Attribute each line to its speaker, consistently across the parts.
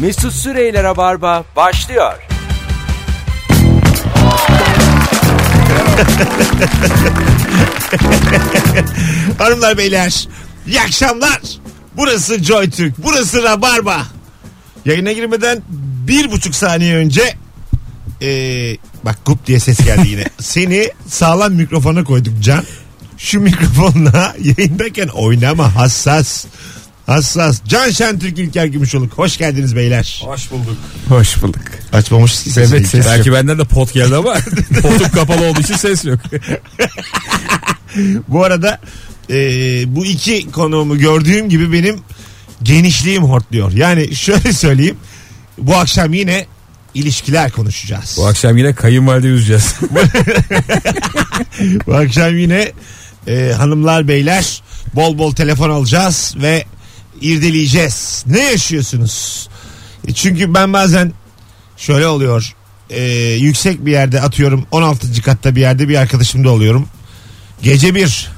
Speaker 1: Mesut Süreyler'e barba başlıyor.
Speaker 2: Hanımlar beyler iyi akşamlar. Burası Joy Türk. Burası Rabarba. Yayına girmeden bir buçuk saniye önce ee, bak gup diye ses geldi yine. Seni sağlam mikrofona koyduk Can. Şu mikrofonla yayındayken oynama hassas. Hassas. Can Şentürk İlker Gümüşoluk. Hoş geldiniz beyler.
Speaker 3: Hoş bulduk.
Speaker 4: Hoş bulduk.
Speaker 2: Açmamışız ki sesi.
Speaker 4: Evet, ses-
Speaker 3: Belki benden de pot geldi ama potum kapalı olduğu için ses yok.
Speaker 2: Bu arada eee, bu iki konuğumu gördüğüm gibi benim genişliğim hortluyor. Yani şöyle söyleyeyim. Bu akşam yine ilişkiler konuşacağız. Bu,
Speaker 3: Bu akşam yine kayınvalide yüzeceğiz.
Speaker 2: akşam yine eee, hanımlar beyler bol bol telefon alacağız ve irdeleyeceğiz. Ne yaşıyorsunuz? E, Çünkü ben bazen şöyle oluyor. Eee, yüksek bir yerde atıyorum 16. katta bir yerde bir arkadaşımda oluyorum. Gece bir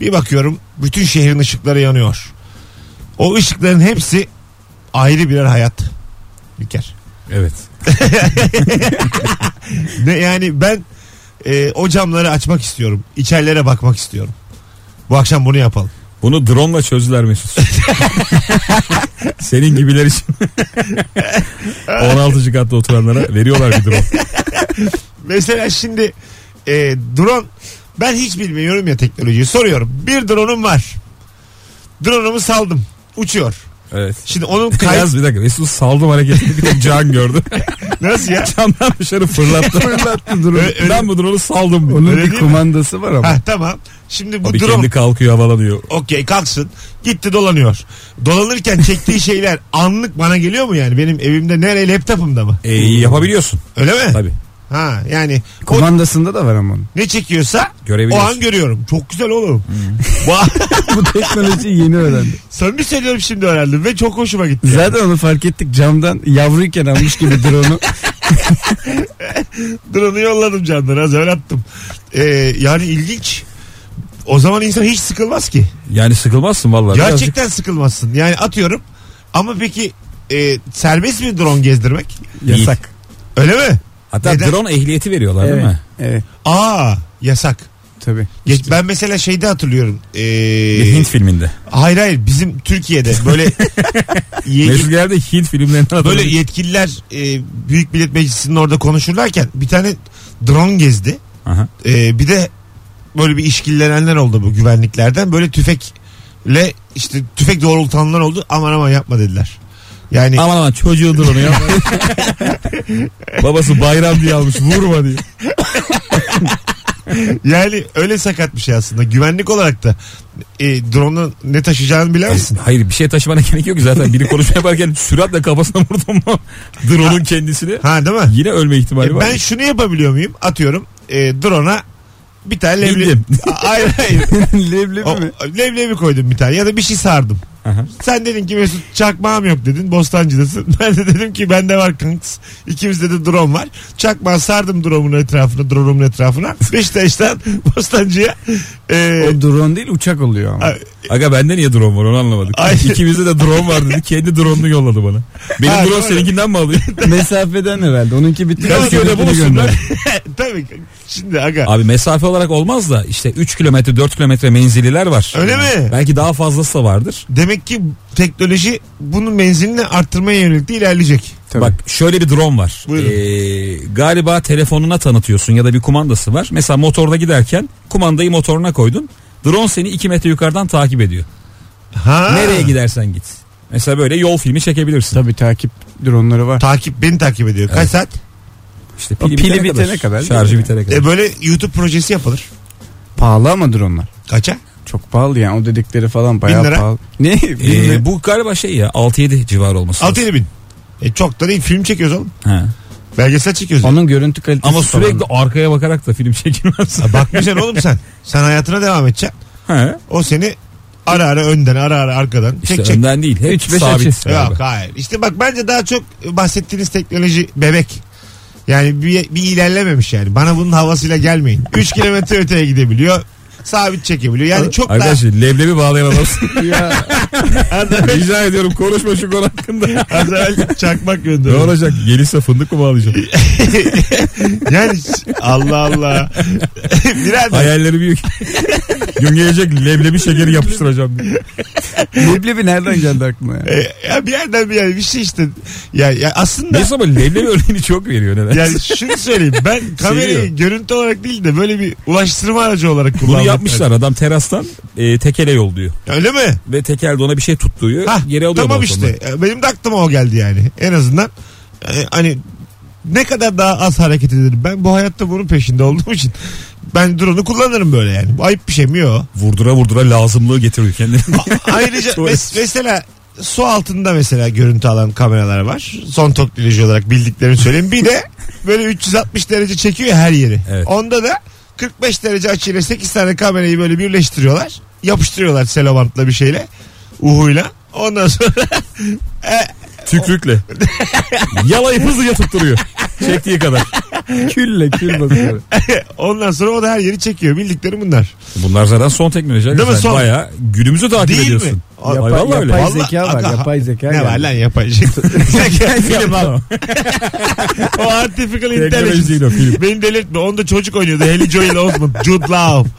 Speaker 2: bir bakıyorum bütün şehrin ışıkları yanıyor. O ışıkların hepsi ayrı birer hayat. Ülker.
Speaker 3: evet.
Speaker 2: Ne yani ben e, o camları açmak istiyorum. İçerilere bakmak istiyorum. Bu akşam bunu yapalım.
Speaker 3: Bunu drone ile çözdüler Mesut. Senin gibiler için. 16. katta oturanlara veriyorlar bir drone.
Speaker 2: Mesela şimdi e, drone ben hiç bilmiyorum ya teknolojiyi. Soruyorum. Bir drone'um var. Drone'umu saldım. Uçuyor.
Speaker 3: Evet.
Speaker 2: Şimdi onun kay-
Speaker 3: Yaz bir dakika. Mesut saldım hareketini bir tek Can gördü.
Speaker 2: nasıl ya?
Speaker 3: Camdan dışarı fırlattı.
Speaker 4: Fırlattı drone.
Speaker 2: Ö- öyle-
Speaker 3: ben bu drone'u saldım.
Speaker 4: Onun
Speaker 2: Öyle
Speaker 4: bir
Speaker 2: değil mi?
Speaker 4: kumandası var ama.
Speaker 2: Ha, tamam. Şimdi bu
Speaker 3: Abi
Speaker 2: drone
Speaker 3: kendi kalkıyor havalanıyor.
Speaker 2: Okey kalksın. Gitti dolanıyor. Dolanırken çektiği şeyler anlık bana geliyor mu yani? Benim evimde nereye laptopumda mı?
Speaker 3: E, yapabiliyorsun
Speaker 2: Öyle mi?
Speaker 3: tabii.
Speaker 2: Ha yani o
Speaker 4: Kumandasında da var ama. onun.
Speaker 2: ne çekiyorsa o
Speaker 3: Görebiliyorsun. Hmm.
Speaker 2: an görüyorum. Çok güzel oğlum. Bu-
Speaker 4: Bu teknoloji yeni öğrendi.
Speaker 2: Samimi söylüyorum şimdi öğrendim ve çok hoşuma gitti. yani.
Speaker 4: Zaten onu fark ettik camdan yavruyken almış gibi drone'u.
Speaker 2: Drone'u yolladım canlar az öyle attım. Ee, yani ilginç. O zaman insan hiç sıkılmaz ki.
Speaker 3: Yani sıkılmazsın vallahi. Birazcık-
Speaker 2: Gerçekten sıkılmazsın. Yani atıyorum ama peki e, serbest mi drone gezdirmek?
Speaker 4: Yasak.
Speaker 2: Öyle mi?
Speaker 3: Hatta
Speaker 2: Neden?
Speaker 3: drone ehliyeti veriyorlar değil mi?
Speaker 4: Evet.
Speaker 2: Aa yasak.
Speaker 4: Tabii.
Speaker 2: Geç, ben mesela şeyde hatırlıyorum. Ee,
Speaker 3: Bir Hint filminde.
Speaker 2: hayır hayır bizim Türkiye'de böyle ye-
Speaker 3: Mesut geldi Hint filmlerinden adam.
Speaker 2: Ee, böyle yetkililer e, Büyük Millet Meclisi'nin orada konuşurlarken bir tane drone gezdi.
Speaker 3: Aha.
Speaker 2: E, bir de böyle bir işkillenenler oldu bu güvenliklerden. Böyle tüfekle işte tüfek doğrultanlar oldu. Aman aman yapma dediler. Yani
Speaker 3: Aman aman çocuğu drone'u ya. Babası bayram diye almış vurma diye.
Speaker 2: yani öyle sakat bir şey aslında. Güvenlik olarak da e, drone'u ne taşıyacağını bilemezsin.
Speaker 3: Hayır bir şey taşımana gerek yok ki zaten. Biri konuşma yaparken süratle kafasına vurdum mu drone'un kendisini.
Speaker 2: Ha değil mi?
Speaker 3: Yine ölme ihtimali
Speaker 2: E,
Speaker 3: var.
Speaker 2: ben şunu yapabiliyor muyum? Atıyorum e, drone'a bir tane leblebi.
Speaker 3: Bildim.
Speaker 2: hayır hayır. O,
Speaker 4: Leblebi mi?
Speaker 2: leblebi koydum bir tane ya da bir şey sardım.
Speaker 3: Aha.
Speaker 2: Sen dedin ki Mesut çakmağım yok dedin. Bostancı'dasın. Ben de dedim ki bende var kanks. İkimizde de drone var. Çakmağı sardım drone'un etrafına, drone'un etrafına. Beşiktaş'tan Bostancı'ya. E,
Speaker 4: O drone değil uçak oluyor ama.
Speaker 2: Ay,
Speaker 3: Aga bende niye drone var onu anlamadık.
Speaker 2: Ay.
Speaker 3: İkimizde de drone var dedi. Kendi drone'unu yolladı bana. Benim
Speaker 2: Ha,
Speaker 3: drone
Speaker 2: doğru.
Speaker 3: seninkinden mi alıyor?
Speaker 4: Mesafeden herhalde. Onunki bitti.
Speaker 3: Kadıköy'de buluşsunlar.
Speaker 2: tabii ki. Şimdi aga.
Speaker 3: Abi mesafe olarak olmaz da işte 3 kilometre 4 kilometre menzililer var.
Speaker 2: Öyle mi?
Speaker 3: Belki daha fazlası da vardır.
Speaker 2: Demek ki teknoloji bunun menzilini arttırmaya yönelik de ilerleyecek.
Speaker 4: Tabii.
Speaker 3: Bak şöyle bir drone var.
Speaker 2: Buyurun.
Speaker 3: Ee, galiba telefonuna tanıtıyorsun ya da bir kumandası var. Mesela motorda giderken kumandayı motoruna koydun. Drone seni 2 metre yukarıdan takip ediyor.
Speaker 2: Ha.
Speaker 3: Nereye gidersen git. Mesela böyle yol filmi çekebilirsin.
Speaker 4: Tabii takip drone'ları var.
Speaker 2: Takip beni takip ediyor. Kaç
Speaker 3: Evet.
Speaker 2: saat?
Speaker 3: İşte
Speaker 4: O pili bitene kadar
Speaker 3: şarjı
Speaker 4: değil
Speaker 3: bitene kadar.
Speaker 2: E böyle YouTube projesi yapılır.
Speaker 4: Pahalı ama drone'lar.
Speaker 2: Kaça?
Speaker 4: Çok pahalı yani o dedikleri falan bayağı
Speaker 2: Bin lira.
Speaker 4: pahalı. Ne?
Speaker 3: Ee,
Speaker 4: Bin lira.
Speaker 3: bu galiba şey ya 6-7 civarı olması. lazım.
Speaker 2: 6 bin. E çok da değil film çekiyoruz oğlum.
Speaker 3: Ha.
Speaker 2: Belgesel çekiyoruz.
Speaker 4: Onun görüntü kalitesi
Speaker 3: Ama
Speaker 4: falan.
Speaker 3: sürekli arkaya bakarak da film çekilmez.
Speaker 2: Ha, Bakmayacaksın oğlum sen. Sen hayatına devam edeceksin.
Speaker 3: Ha.
Speaker 2: O seni ara ara önden ara ara arkadan
Speaker 3: İşte
Speaker 2: çekecek.
Speaker 3: önden değil. Hep
Speaker 4: Üç beş
Speaker 3: sabit.
Speaker 4: açı.
Speaker 3: galiba.
Speaker 2: Yok hayır. İşte bak bence daha çok bahsettiğiniz teknoloji bebek. Yani bir, bir ilerlememiş yani. Bana bunun havasıyla gelmeyin. 3 kilometre öteye gidebiliyor. sabit çekebiliyor. Yani çok da
Speaker 3: Arkadaşlar leblebi bağlayan adamsın.
Speaker 4: ya,
Speaker 2: az evvel-
Speaker 3: Rica ediyorum konuşma şu konu hakkında.
Speaker 2: az evvel çakmak
Speaker 3: ne
Speaker 2: gönderiyor.
Speaker 3: olacak? Gelirse fındık mı bağlayacağım?
Speaker 2: Yani Allah Allah. Birader
Speaker 3: Hayalleri büyük. Gün gelecek leblebi şekeri yapıştıracağım diye.
Speaker 4: leblebi nereden geldi aklına ya?
Speaker 2: e, ya bir yerden bir yer bir şey işte. Ya, ya aslında
Speaker 3: Neyse ama leblebi örneğini çok veriyor neden?
Speaker 2: yani şunu söyleyeyim ben kamerayı
Speaker 3: Seviyor.
Speaker 2: görüntü olarak değil de böyle bir ulaştırma aracı olarak kullandım.
Speaker 3: Bunu yapmışlar adam terastan e, tekele yolluyor.
Speaker 2: Öyle mi?
Speaker 3: Ve tekel de ona bir şey tuttuğu
Speaker 2: Hah,
Speaker 3: geri alıyor.
Speaker 2: Tamam
Speaker 3: balkondan.
Speaker 2: işte. E, Benim de aklıma o geldi yani. En azından e, hani ne kadar daha az hareket ederim. Ben bu hayatta bunun peşinde olduğum için ben drone'u kullanırım böyle yani. Bu ayıp bir şey mi yok?
Speaker 3: Vurdura vurdura lazımlığı getiriyor kendine.
Speaker 2: Ayrıca
Speaker 3: Doğru.
Speaker 2: mes- mesela su altında mesela görüntü alan kameralar var. Son teknoloji olarak bildiklerini söyleyeyim. Bir de böyle 360 derece çekiyor ya her yeri.
Speaker 3: Evet.
Speaker 2: Onda da 45 derece açıyla 8 tane kamerayı böyle birleştiriyorlar. Yapıştırıyorlar selobantla bir şeyle. Uhuyla. Ondan sonra
Speaker 3: Tükrükle. Yalayıp hızlıca tutturuyor. Çektiği kadar.
Speaker 4: Külle kül basıyor.
Speaker 2: ondan sonra o da her yeri çekiyor. Bildikleri bunlar.
Speaker 3: Bunlar zaten son teknoloji.
Speaker 2: mi?
Speaker 3: arkadaşlar.
Speaker 2: Son.
Speaker 3: Bayağı günümüzü takip
Speaker 2: Değil mi?
Speaker 3: ediyorsun.
Speaker 2: Yapay-
Speaker 3: Vay vallahi öyle.
Speaker 4: yapay-
Speaker 3: Vallahi-
Speaker 4: zeka var, yapay zeka
Speaker 2: Ne
Speaker 4: yani.
Speaker 2: var lan yapay zeka. Film al. o artificial
Speaker 3: Teknoloji değil
Speaker 2: intelligence.
Speaker 3: o film.
Speaker 2: Beni delirtme. Onda çocuk oynuyordu. Haley Joel Osment. Jude Law.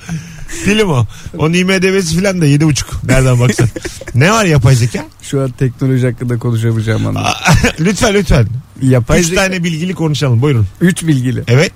Speaker 2: Film o. Onun IMDB'si falan da 7.5. Nereden baksan. ne var yapay zeka?
Speaker 4: Şu an teknoloji hakkında konuşamayacağım anda.
Speaker 2: lütfen lütfen.
Speaker 4: Yapay
Speaker 2: Üç
Speaker 4: zeka,
Speaker 2: tane bilgili konuşalım. Buyurun.
Speaker 4: 3 bilgili.
Speaker 2: Evet.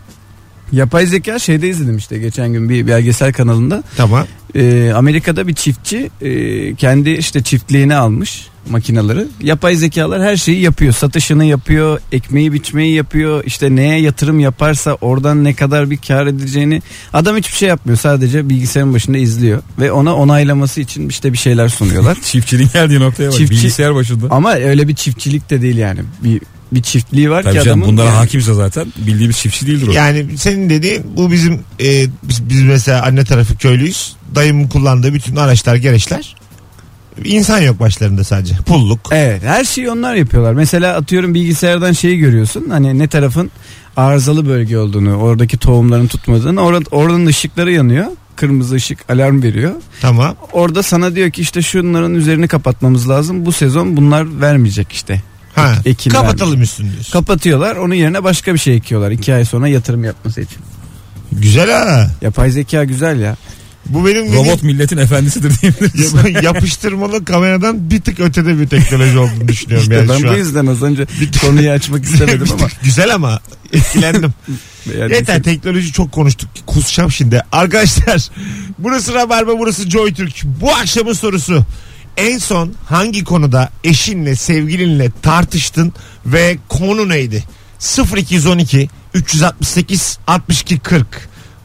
Speaker 4: Yapay zeka şeyde izledim işte geçen gün bir belgesel kanalında.
Speaker 2: Tamam.
Speaker 4: Ee, Amerika'da bir çiftçi e, kendi işte çiftliğini almış makinaları. Yapay zekalar her şeyi yapıyor. Satışını yapıyor, ekmeği biçmeyi yapıyor. İşte neye yatırım yaparsa oradan ne kadar bir kar edeceğini. Adam hiçbir şey yapmıyor. Sadece bilgisayarın başında izliyor. Ve ona onaylaması için işte bir şeyler sunuyorlar.
Speaker 3: Çiftçinin geldiği noktaya bak.
Speaker 4: Çiftçi-
Speaker 3: Şey Bilgisayar başında.
Speaker 4: Ama öyle bir çiftçilik de değil yani. Bir bir çiftliği var
Speaker 3: Tabii
Speaker 4: ki
Speaker 3: canım
Speaker 4: adamın.
Speaker 3: bunlara
Speaker 4: yani-
Speaker 3: hakimse zaten bildiğimiz çiftçi değildir o.
Speaker 2: Yani senin dediğin bu bizim e, biz, biz mesela anne tarafı köylüyüz. Dayımın kullandığı bütün araçlar gereçler. İnsan yok başlarında sadece. Pulluk.
Speaker 4: Evet her şeyi onlar yapıyorlar. Mesela atıyorum bilgisayardan şeyi görüyorsun. Hani ne tarafın arızalı bölge olduğunu, oradaki tohumların tutmadığını. Orada, oradan ışıkları yanıyor. Kırmızı ışık alarm veriyor.
Speaker 2: Tamam.
Speaker 4: Orada sana diyor ki işte şunların üzerini kapatmamız lazım. Bu sezon bunlar vermeyecek işte.
Speaker 2: Ha.
Speaker 4: Ekin
Speaker 2: Kapatalım üstünü diyorsun.
Speaker 4: Kapatıyorlar onun yerine başka bir şey ekiyorlar. iki ay sonra yatırım yapması için.
Speaker 2: Güzel ha.
Speaker 4: Yapay zeka güzel ya.
Speaker 2: Bu benim
Speaker 3: Robot milletin efendisidir diyebiliriz.
Speaker 2: dediğim yapıştırmalı kameradan bir tık ötede bir teknoloji olduğunu düşünüyorum
Speaker 4: İşte
Speaker 2: yani
Speaker 4: ben
Speaker 2: şu
Speaker 4: bu
Speaker 2: an.
Speaker 4: yüzden az önce konuyu açmak istemedim ama.
Speaker 2: Güzel ama etkilendim.
Speaker 4: yani
Speaker 2: Yeter teknoloji çok konuştuk. Kusacağım şimdi. Arkadaşlar burası Rabarba burası Joy Türk. Bu akşamın sorusu. En son hangi konuda eşinle sevgilinle tartıştın ve konu neydi? 0212 368 62 40.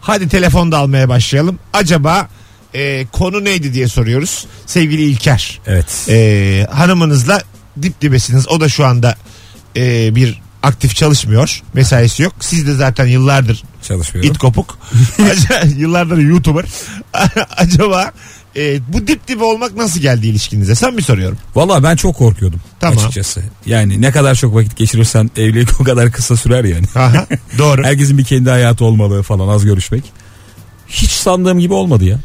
Speaker 2: Hadi telefonda almaya başlayalım. Acaba e, konu neydi diye soruyoruz. Sevgili İlker
Speaker 3: Evet.
Speaker 2: e, hanımınızla dip dibesiniz. O da şu anda e, bir aktif çalışmıyor. Mesaisi yok. Siz de zaten yıllardır
Speaker 3: Çalışmıyorum.
Speaker 2: it kopuk. Ac- yıllardır YouTuber. Acaba e, bu dip dibe olmak nasıl geldi ilişkinize? Sen mi soruyorum?
Speaker 3: Valla ben çok korkuyordum
Speaker 2: Tamam.
Speaker 3: açıkçası. Yani ne kadar çok vakit geçirirsen evlilik o kadar kısa sürer yani.
Speaker 2: Aha, doğru.
Speaker 3: Herkesin bir kendi hayatı olmalı falan az görüşmek. Hiç sandığım gibi olmadı ya.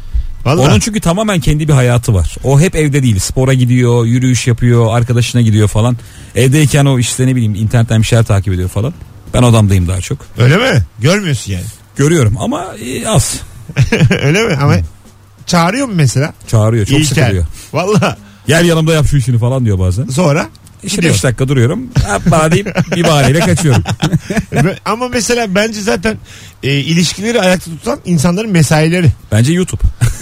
Speaker 2: Vallahi.
Speaker 3: Onun çünkü tamamen kendi bir hayatı var. O hep evde değil. Spora gidiyor, yürüyüş yapıyor, arkadaşına gidiyor falan. Evdeyken o işte ne bileyim internetten bir şeyler takip ediyor falan. Ben odamdayım daha çok.
Speaker 2: Öyle mi? Görmüyorsun yani.
Speaker 3: Görüyorum ama e, az.
Speaker 2: Öyle mi? Ama çağırıyor mu mesela?
Speaker 3: Çağırıyor, çok
Speaker 2: İlker.
Speaker 3: sıkılıyor.
Speaker 2: Valla
Speaker 3: Gel yanımda yap şu işini falan diyor bazen.
Speaker 2: sonra.
Speaker 3: İşte
Speaker 2: Gidiyor.
Speaker 3: 5 dakika duruyorum. Yapma deyip bir bahaneyle kaçıyorum.
Speaker 2: Ve- Ama mesela bence zaten e, ilişkileri ayakta tutan insanların mesaileri.
Speaker 3: Bence YouTube.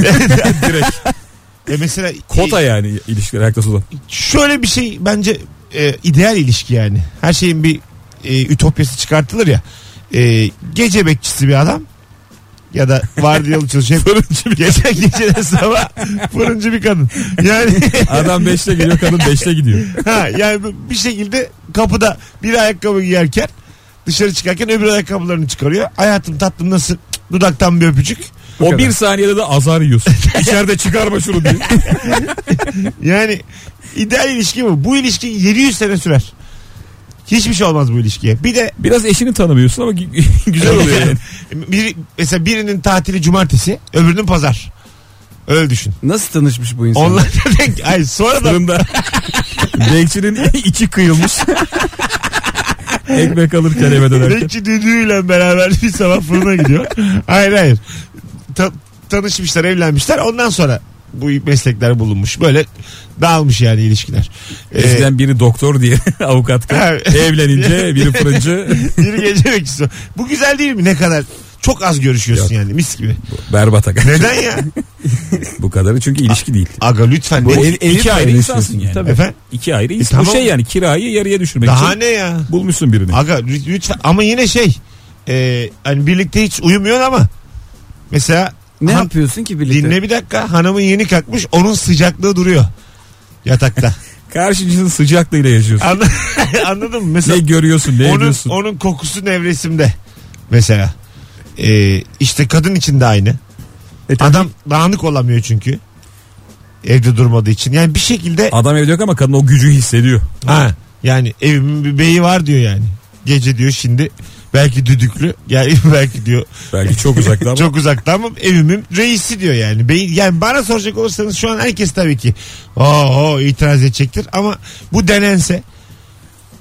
Speaker 3: Direkt.
Speaker 2: E mesela
Speaker 3: Kota yani ilişkiler ayakta tutan.
Speaker 2: şöyle bir şey bence e, ideal ilişki yani. Her şeyin bir e, ütopyası çıkartılır ya. E, gece bekçisi bir adam ya da vardiyalı çalışan fırıncı bir gece geceden sabah fırıncı bir kadın. Yani
Speaker 3: Adam 5'te geliyor kadın 5'te gidiyor.
Speaker 2: ha yani bu- bir şekilde kapıda bir ayakkabı giyerken dışarı çıkarken öbür ayakkabılarını çıkarıyor. Hayatım tatlım nasıl Cık, dudaktan bir öpücük.
Speaker 3: O bir saniyede de azar yiyorsun. İçeride çıkarma şunu diyor.
Speaker 2: Yani ideal ilişki bu. Bu ilişki 700 sene sürer. Hiçbir şey olmaz bu ilişkiye. Bir de
Speaker 3: Biraz eşini tanımıyorsun ama gü- güzel oluyor yani.
Speaker 2: bir, mesela birinin tatili cumartesi, öbürünün pazar. Öyle düşün.
Speaker 4: Nasıl tanışmış bu insanlar?
Speaker 2: Onlar da denk. Ay sonra da
Speaker 3: Fırında. Bekçinin içi kıyılmış. Ekmek alırken eve dönerken.
Speaker 2: Bekçi düdüğüyle beraber bir sabah fırına gidiyor. Hayır hayır. Ta- tanışmışlar, evlenmişler. Ondan sonra bu meslekler bulunmuş. Böyle dağılmış yani ilişkiler. Ee,
Speaker 3: Eskiden biri doktor diye avukat.
Speaker 2: Evet.
Speaker 3: Evlenince biri fırıncı.
Speaker 2: biri gece bekçisi. Bu güzel değil mi? Ne kadar çok az görüşüyorsun
Speaker 3: Yok.
Speaker 2: yani mis gibi.
Speaker 3: Berbat aga.
Speaker 2: Neden ya?
Speaker 3: Bu kadarı çünkü ilişki değil.
Speaker 2: Aga lütfen.
Speaker 3: Bu
Speaker 2: ne-
Speaker 3: ev, iki ayrı
Speaker 4: ayrı
Speaker 3: insansın
Speaker 4: insansın,
Speaker 3: yani.
Speaker 4: tabii.
Speaker 2: Efendim?
Speaker 3: İki ayrı insan.
Speaker 2: E, tamam.
Speaker 3: Bu şey yani kirayı yarıya düşürmek
Speaker 2: Daha
Speaker 3: için
Speaker 2: ne ya?
Speaker 3: bulmuşsun birini.
Speaker 2: Aga lü- lütfen ama yine şey e, hani birlikte hiç uyumuyor ama mesela
Speaker 4: Ne
Speaker 2: han-
Speaker 4: yapıyorsun ki birlikte?
Speaker 2: dinle bir dakika hanımın yeni kalkmış onun sıcaklığı duruyor yatakta.
Speaker 3: Karşı cinsin sıcaklığıyla yaşıyorsun.
Speaker 2: Anla- Anladın mı?
Speaker 3: Ne
Speaker 2: Mesela
Speaker 3: görüyorsun ne
Speaker 2: onun,
Speaker 3: ediyorsun.
Speaker 2: onun kokusu nevresimde mesela. E, işte kadın için de aynı.
Speaker 4: E, tabii.
Speaker 2: Adam dağınık olamıyor çünkü. Evde durmadığı için. Yani bir şekilde
Speaker 3: Adam evde yok ama kadın o gücü hissediyor.
Speaker 2: Ha yani evimin bir beyi var diyor yani. Gece diyor şimdi belki düdüklü yani belki diyor
Speaker 3: Belki çok uzakta ama.
Speaker 2: çok uzakta ama evimin reisi diyor yani. Beyi, yani bana soracak olursanız şu an herkes tabii ki ooo itiraz edecektir ama bu denense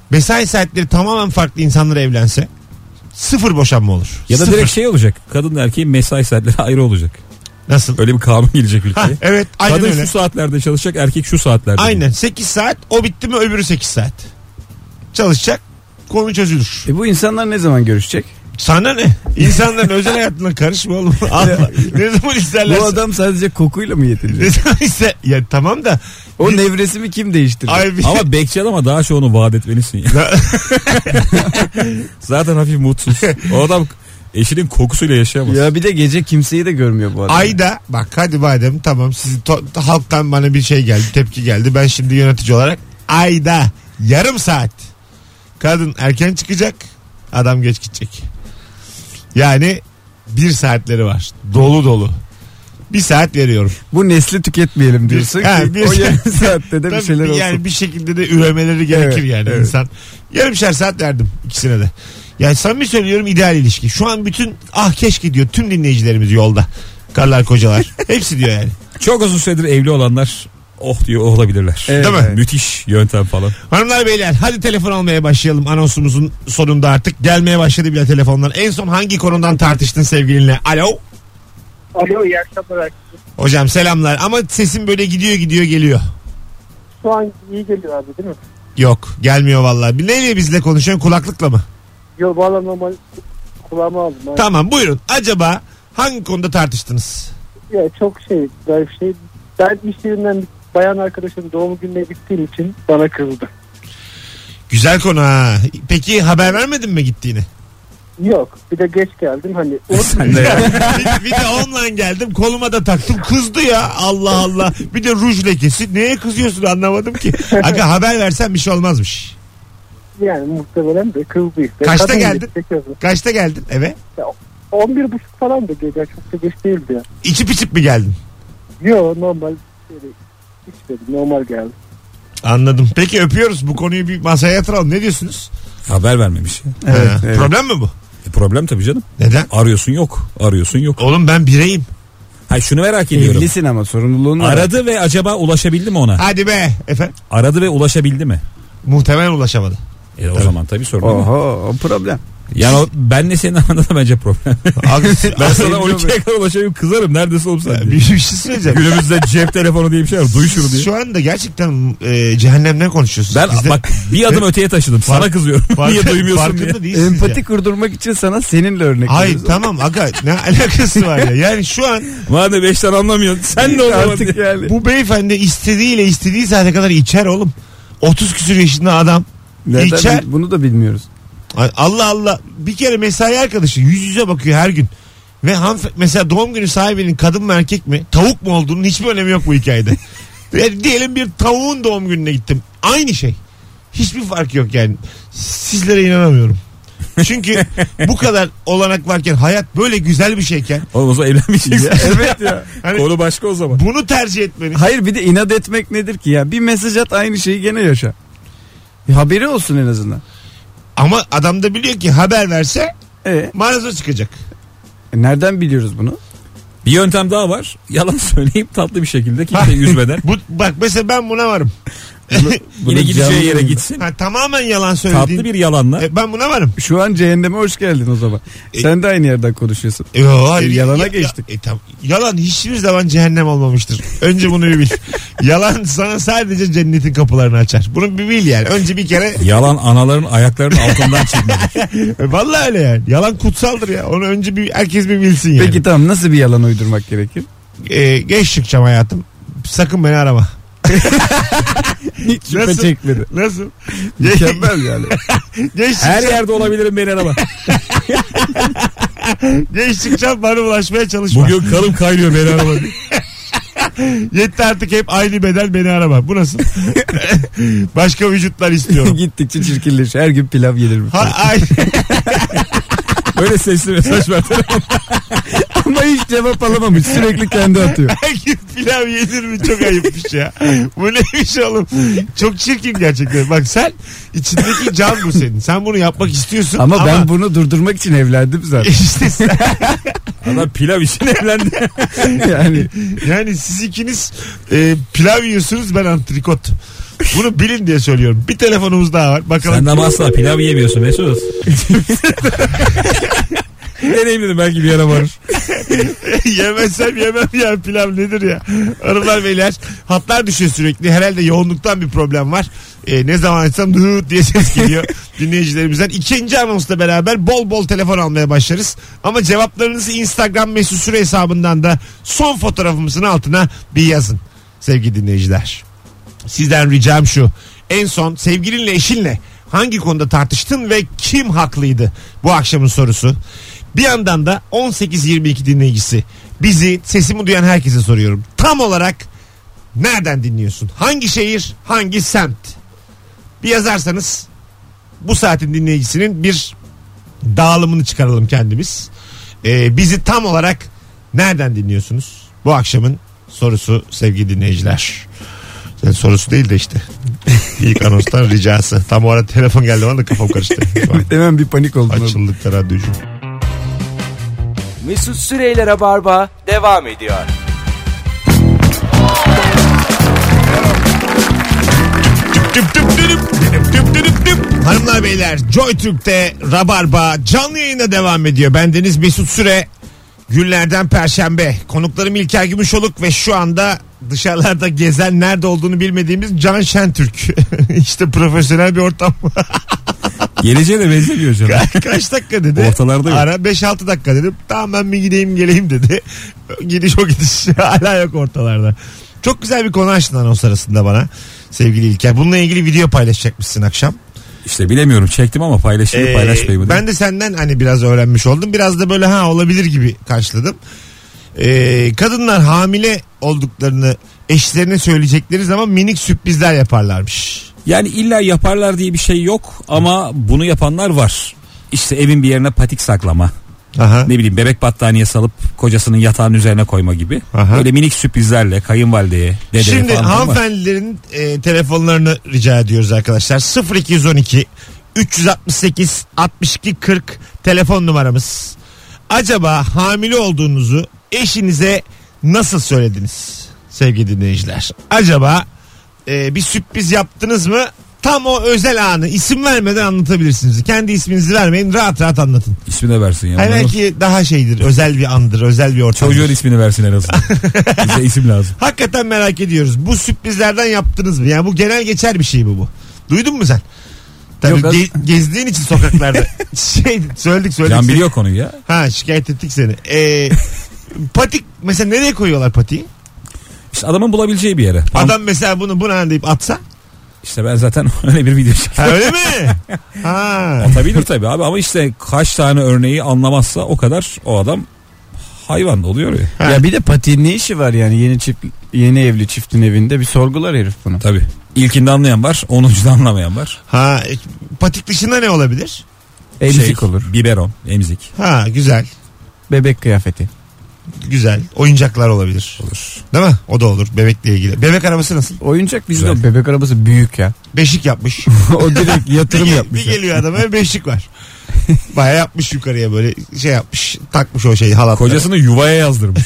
Speaker 2: mesai saatleri tamamen farklı insanlar evlense sıfır boşanma olur.
Speaker 3: Ya da
Speaker 2: Sıfır.
Speaker 3: direkt şey olacak. Kadın erkeğin mesai saatleri ayrı olacak.
Speaker 2: nasıl?
Speaker 3: Öyle bir kanun gelecek
Speaker 2: Ha,
Speaker 3: ülkeye.
Speaker 2: evet aynen
Speaker 3: Kadın
Speaker 2: öyle.
Speaker 3: şu saatlerde çalışacak, erkek şu saatlerde.
Speaker 2: Aynen 8 saat o bitti mi öbürü 8 saat. Çalışacak konu çözülür.
Speaker 4: E bu insanlar ne zaman görüşecek?
Speaker 2: Sana ne? İnsanların özel hayatına karışma oğlum. Allah. ne zaman isterler.
Speaker 4: Bu adam sadece kokuyla mı yetinecek?
Speaker 2: Ne zaman ister. Ya tamam da.
Speaker 4: O nevresimi kim değiştirecek?
Speaker 2: Ay bir
Speaker 3: Ama bekçi ama daha çoğunu vaat etmelisin ya. Zaten hafif mutsuz. O adam eşinin kokusuyla yaşayamaz.
Speaker 4: Ya bir de gece kimseyi de görmüyor bu adam.
Speaker 2: Ayda bak hadi madem tamam sizi to- halktan bana bir şey geldi tepki geldi ben şimdi yönetici olarak ayda yarım saat kadın erken çıkacak adam geç gidecek yani bir saatleri var dolu dolu bir saat veriyorum
Speaker 4: Bu nesli tüketmeyelim diyorsun
Speaker 2: Ha,
Speaker 4: ki
Speaker 2: bir- şey-
Speaker 4: o yarım saatte de bir
Speaker 2: Tabii
Speaker 4: şeyler olsun.
Speaker 2: Yani bir şekilde de üremeleri gerekir
Speaker 4: Evet,
Speaker 2: yani
Speaker 4: evet.
Speaker 2: insan. Yarımşar saat verdim ikisine de. Yani samimi söylüyorum ideal ilişki. Şu an bütün ah keşke diyor tüm dinleyicilerimiz yolda. Karlar kocalar. Hepsi diyor yani.
Speaker 3: Çok uzun süredir evli olanlar oh diyor oh olabilirler.
Speaker 4: Evet,
Speaker 2: Değil mi?
Speaker 4: evet.
Speaker 3: Müthiş yöntem falan.
Speaker 2: Hanımlar beyler hadi telefon almaya başlayalım anonsumuzun sonunda artık. Gelmeye başladı bile telefonlar. En son hangi konudan tartıştın sevgilinle? Alo.
Speaker 5: Alo iyi akşamlar. herkese.
Speaker 2: Hocam selamlar ama sesin böyle gidiyor gidiyor geliyor.
Speaker 5: Şu an iyi geliyor abi değil mi?
Speaker 2: Yok gelmiyor vallahi. Bir Neyle bizle konuşuyorsun kulaklıkla mı?
Speaker 5: Yo valla normal kulağıma aldım. abi.
Speaker 2: Tamam buyurun. Acaba hangi konuda tartıştınız?
Speaker 5: Ya, çok şey garip şey. Ben iş yerinden bir bayan arkadaşım doğum gününe gittiğim için bana kızdı.
Speaker 2: Güzel konu ha. Peki haber vermedin mi gittiğini?
Speaker 5: Yok bir de geç geldim hani
Speaker 3: Sen de ya.
Speaker 2: bir, bir de online geldim koluma da taktım kızdı ya Allah Allah. Bir de ruj lekesi neye kızıyorsun anlamadım ki. Aga haber versen bir şey olmazmış.
Speaker 5: yani muhtemelen de kızdı işte.
Speaker 2: Kaçta
Speaker 5: Kadın
Speaker 2: geldin?
Speaker 5: gibi çekiyordu.
Speaker 2: Kaçta geldin eve?
Speaker 5: Ya, 11 buçuk falan da gece çok da geç değildi ya.
Speaker 2: İçip içip mi geldin?
Speaker 5: Yo normal böyle içmedim normal geldi.
Speaker 2: Anladım. Peki öpüyoruz bu konuyu bir masaya yatıralım ne diyorsunuz?
Speaker 3: Haber vermemiş.
Speaker 4: Evet,
Speaker 2: Ha,
Speaker 4: evet.
Speaker 2: Problem mi bu?
Speaker 3: E, problem tabii canım.
Speaker 2: Neden?
Speaker 3: Arıyorsun yok. Arıyorsun yok.
Speaker 2: Oğlum ben bireyim.
Speaker 3: Hayır şunu merak ediyorum.
Speaker 4: Evlisin ama sorumluluğun var.
Speaker 3: Aradı ve acaba ulaşabildi mi ona?
Speaker 2: Hadi be efendim.
Speaker 3: Aradı ve ulaşabildi mi?
Speaker 2: Muhtemelen ulaşamadı.
Speaker 3: E, o zaman tabii sorun değil mi?
Speaker 4: Oho o problem.
Speaker 3: Yani o, benle senin aranda da bence problem.
Speaker 2: Aga-
Speaker 3: Ben sana 12'ye kadar ulaşamıyorum kızarım. Neredesin oğlum sen?
Speaker 2: bir,
Speaker 3: diye.
Speaker 2: bir şey söyleyeceğim.
Speaker 3: Günümüzde cep telefonu diye bir şey var. Duy şunu diye.
Speaker 2: Şu anda gerçekten e, cehennemden konuşuyorsunuz.
Speaker 3: Ben
Speaker 2: Biz de-
Speaker 3: bak bir adım öteye taşıdım. Sana
Speaker 2: Fark-
Speaker 3: kızıyorum.
Speaker 2: Fark-
Speaker 3: Niye duymuyorsun diye.
Speaker 2: farkında değilsiniz ya.
Speaker 4: Empati kurdurmak için sana seninle örnek
Speaker 2: Hayır
Speaker 4: veriyoruz.
Speaker 2: tamam aga ne alakası var ya. Yani şu an
Speaker 3: Madem 5'ten anlamıyorsun. Sen de o zaman
Speaker 4: Artık
Speaker 3: diye.
Speaker 4: yani.
Speaker 2: bu beyefendi istediğiyle istediği saate kadar içer oğlum. 30 küsür yaşında adam.
Speaker 4: Nereden
Speaker 2: İçer.
Speaker 4: bil- Bunu da bilmiyoruz.
Speaker 2: Ay, Allah Allah. Bir kere mesai arkadaşı yüz yüze bakıyor her gün. Ve hanımef- mesela doğum günü sahibinin kadın mı erkek mi tavuk mu olduğunun hiçbir önemi yok bu hikayede. Ve diyelim bir tavuğun doğum gününe gittim. Aynı şey. Hiçbir fark yok yani. Sizlere inanamıyorum. Çünkü bu kadar olanak varken hayat böyle güzel bir şeyken
Speaker 3: Oğlum o zaman evlenmeyeceksin.
Speaker 4: evet ya.
Speaker 2: hani
Speaker 3: Konu başka o zaman.
Speaker 2: bunu tercih etmeniz
Speaker 4: Hayır bir de inat etmek nedir ki ya? Bir mesaj at aynı şeyi gene yaşa. Bir haberi olsun en azından.
Speaker 2: Ama adam da biliyor ki haber verse
Speaker 4: E,
Speaker 2: mağaza çıkacak.
Speaker 4: nereden biliyoruz bunu?
Speaker 3: Bir yöntem daha var. Yalan söyleyip tatlı bir şey şekilde kimse üzmeden.
Speaker 2: Bu, bak mesela ben buna varım.
Speaker 3: Yine
Speaker 4: canlı
Speaker 3: gideceği yere
Speaker 4: yayında.
Speaker 3: gitsin.
Speaker 2: Ha, tamamen yalan söylediğin.
Speaker 3: Tatlı bir yalanla.
Speaker 2: E, ben buna varım.
Speaker 4: Şu an cehenneme hoş geldin o zaman. Sen de aynı yerden konuşuyorsun.
Speaker 2: E, Yo, hayır.
Speaker 4: yalana
Speaker 2: Ya-
Speaker 4: geçtik.
Speaker 2: ya- e, tam, yalan hiçbir zaman cehennem olmamıştır. Önce bunu bir bil. yalan sana sadece cennetin kapılarını açar. Bunu bir bil yani. Önce bir kere
Speaker 3: Yalan anaların ayaklarının altından çekmedi.
Speaker 2: e, vallahi öyle yani. Yalan kutsaldır ya. Onu önce bir herkes bir bilsin yani.
Speaker 4: Peki tamam nasıl bir yalan uydurmak gerekir?
Speaker 2: E, geç çıkacağım hayatım. Sakın beni arama.
Speaker 4: Hiç şüphe
Speaker 2: Nasıl?
Speaker 4: çekmedi.
Speaker 2: Nasıl? Geç,
Speaker 4: Mükemmel yani.
Speaker 2: geç
Speaker 3: Her
Speaker 2: çıkacağım-
Speaker 3: yerde olabilirim beni arama.
Speaker 2: geç çıkacağım bana ulaşmaya çalışma.
Speaker 3: Bugün kanım kaynıyor beni arama. diye.
Speaker 2: Yetti artık hep aynı bedel beni arama. Bu nasıl? Başka vücutlar istiyorum.
Speaker 4: Gittikçe çirkinleşiyor. Her gün pilav yenir mi?
Speaker 2: Ha, ay,
Speaker 3: Böyle sesli mesaj ver.
Speaker 4: Ama hiç cevap alamamış. Sürekli kendi atıyor.
Speaker 2: herkes pilav yenir mi? Çok ayıpmış ya. Bu neymiş oğlum? Çok çirkin gerçekten. Bak sen içindeki can bu senin. Sen bunu yapmak istiyorsun.
Speaker 4: Ama, ben bunu durdurmak için evlendim zaten.
Speaker 2: işte sen-
Speaker 3: Adam pilav için evlendi.
Speaker 4: yani
Speaker 2: yani siz ikiniz e, pilav yiyorsunuz ben antrikot. Bunu bilin diye söylüyorum. Bir telefonumuz daha var. Bakalım.
Speaker 3: Sen de ama asla pilav yemiyorsun Mesut. Deneyimledim belki bir yere varır.
Speaker 2: Yemezsem yemem ya pilav nedir ya. Hanımlar beyler hatlar düşüyor sürekli. Herhalde yoğunluktan bir problem var. Ee, ne zaman açsam dıt diye ses geliyor dinleyicilerimizden. İkinci anonsla beraber bol bol telefon almaya başlarız. Ama cevaplarınızı Instagram mesut süre hesabından da son fotoğrafımızın altına bir yazın sevgili dinleyiciler. Sizden ricam şu. En son sevgilinle eşinle hangi konuda tartıştın ve kim haklıydı? Bu akşamın sorusu. Bir yandan da 18-22 dinleyicisi. Bizi sesimi duyan herkese soruyorum. Tam olarak nereden dinliyorsun? Hangi şehir, hangi semt? Bir yazarsanız bu saatin dinleyicisinin bir dağılımını çıkaralım kendimiz. Ee, bizi tam olarak nereden dinliyorsunuz? Bu akşamın sorusu sevgili dinleyiciler. Yani sorusu değil de işte. İlk anonstan ricası. Tam o ara telefon geldi bana da kafam karıştı. Şu an
Speaker 4: hemen bir panik oldum.
Speaker 2: Açıldık da radyocu.
Speaker 1: Mesut Süreyler'e barba devam ediyor.
Speaker 2: Tüp tüp tüp tüp tüp tüp tüp. Hanımlar beyler Joy Türk'te Rabarba canlı yayına devam ediyor. Bendeniz Mesut Süre günlerden perşembe. Konuklarım İlker Gümüşoluk ve şu anda dışarılarda gezen nerede olduğunu bilmediğimiz Can Şentürk. işte profesyonel bir ortam.
Speaker 3: Geleceğe de benzemiyor canım.
Speaker 2: Kaç dakika dedi.
Speaker 3: Ortalarda yok.
Speaker 2: Ara 5-6 dakika dedim. Tamam ben bir gideyim geleyim dedi. gidiş o gidiş. Hala yok ortalarda. Çok güzel bir konu açtın anons arasında bana. Sevgili İlker. Bununla ilgili video paylaşacakmışsın akşam.
Speaker 3: İşte bilemiyorum çektim ama paylaşayım
Speaker 2: Ee,
Speaker 3: paylaşmayayım. mı?
Speaker 2: Ben de senden hani biraz öğrenmiş oldum. Biraz da böyle ha olabilir gibi karşıladım. Ee, kadınlar hamile olduklarını eşlerine söyleyecekleri zaman minik sürprizler yaparlarmış.
Speaker 3: Yani illa yaparlar diye bir şey yok ama bunu yapanlar var. İşte evin bir yerine patik saklama.
Speaker 2: Aha.
Speaker 3: Ne bileyim bebek battaniye salıp kocasının yatağın üzerine koyma gibi.
Speaker 2: Aha.
Speaker 3: Böyle minik sürprizlerle kayınvalideye, dedeye
Speaker 2: Şimdi
Speaker 3: falan. ama
Speaker 2: hanımefendilerin e, telefonlarını rica ediyoruz arkadaşlar. 0212 368 62 40 telefon numaramız. Acaba hamile olduğunuzu eşinize nasıl söylediniz sevgili dinleyiciler? Acaba e, bir sürpriz yaptınız mı? Tam o özel anı isim vermeden anlatabilirsiniz. Kendi isminizi vermeyin rahat rahat anlatın.
Speaker 3: ismini versin ya.
Speaker 2: Hani
Speaker 3: Bunların-
Speaker 2: belki daha şeydir özel bir andır özel bir ortam.
Speaker 3: Çocuğun ismini versin en azından. Bize isim lazım.
Speaker 2: Hakikaten merak ediyoruz. Bu sürprizlerden yaptınız mı? Yani bu genel geçer bir şey bu bu. Duydun mu sen? Tabii
Speaker 4: Yok, az-
Speaker 2: ge- gezdiğin için sokaklarda. şey söyledik söyledik.
Speaker 3: Can
Speaker 2: seni.
Speaker 3: biliyor konuyu ya.
Speaker 2: Ha şikayet ettik seni. Ee, patik mesela nereye koyuyorlar patiği?
Speaker 3: İşte adamın bulabileceği bir yere. Pam-
Speaker 2: Adam mesela bunu buna deyip atsa.
Speaker 3: İşte ben zaten öyle bir video çektim.
Speaker 2: Ha, öyle mi? Ha.
Speaker 3: Atabilir tabii abi ama işte kaç tane örneği anlamazsa o kadar o adam hayvan oluyor ya.
Speaker 4: Ya bir de patiğin ne işi var yani yeni çift yeni evli çiftin evinde bir sorgular herif bunu.
Speaker 3: Tabii. İlkinde anlayan var, onuncunda anlamayan var.
Speaker 2: Ha, e, patik dışında ne olabilir?
Speaker 4: Emzik
Speaker 3: Şey,
Speaker 4: olur.
Speaker 3: Biberon, emzik.
Speaker 2: Ha güzel.
Speaker 4: Bebek kıyafeti.
Speaker 2: Güzel. Oyuncaklar olabilir.
Speaker 3: Olur.
Speaker 2: Değil mi? O da olur. Bebekle ilgili. Bebek arabası nasıl?
Speaker 4: Oyuncak bizde
Speaker 3: Güzel.
Speaker 4: o bebek arabası büyük ya.
Speaker 2: Beşik yapmış.
Speaker 4: o direkt yatırım
Speaker 2: bir, ge-
Speaker 4: yapmış.
Speaker 2: bir geliyor adama bir beşik var. Baya yapmış yukarıya böyle şey yapmış. Takmış o şeyi halatları.
Speaker 3: Kocasını yuvaya yazdırmış.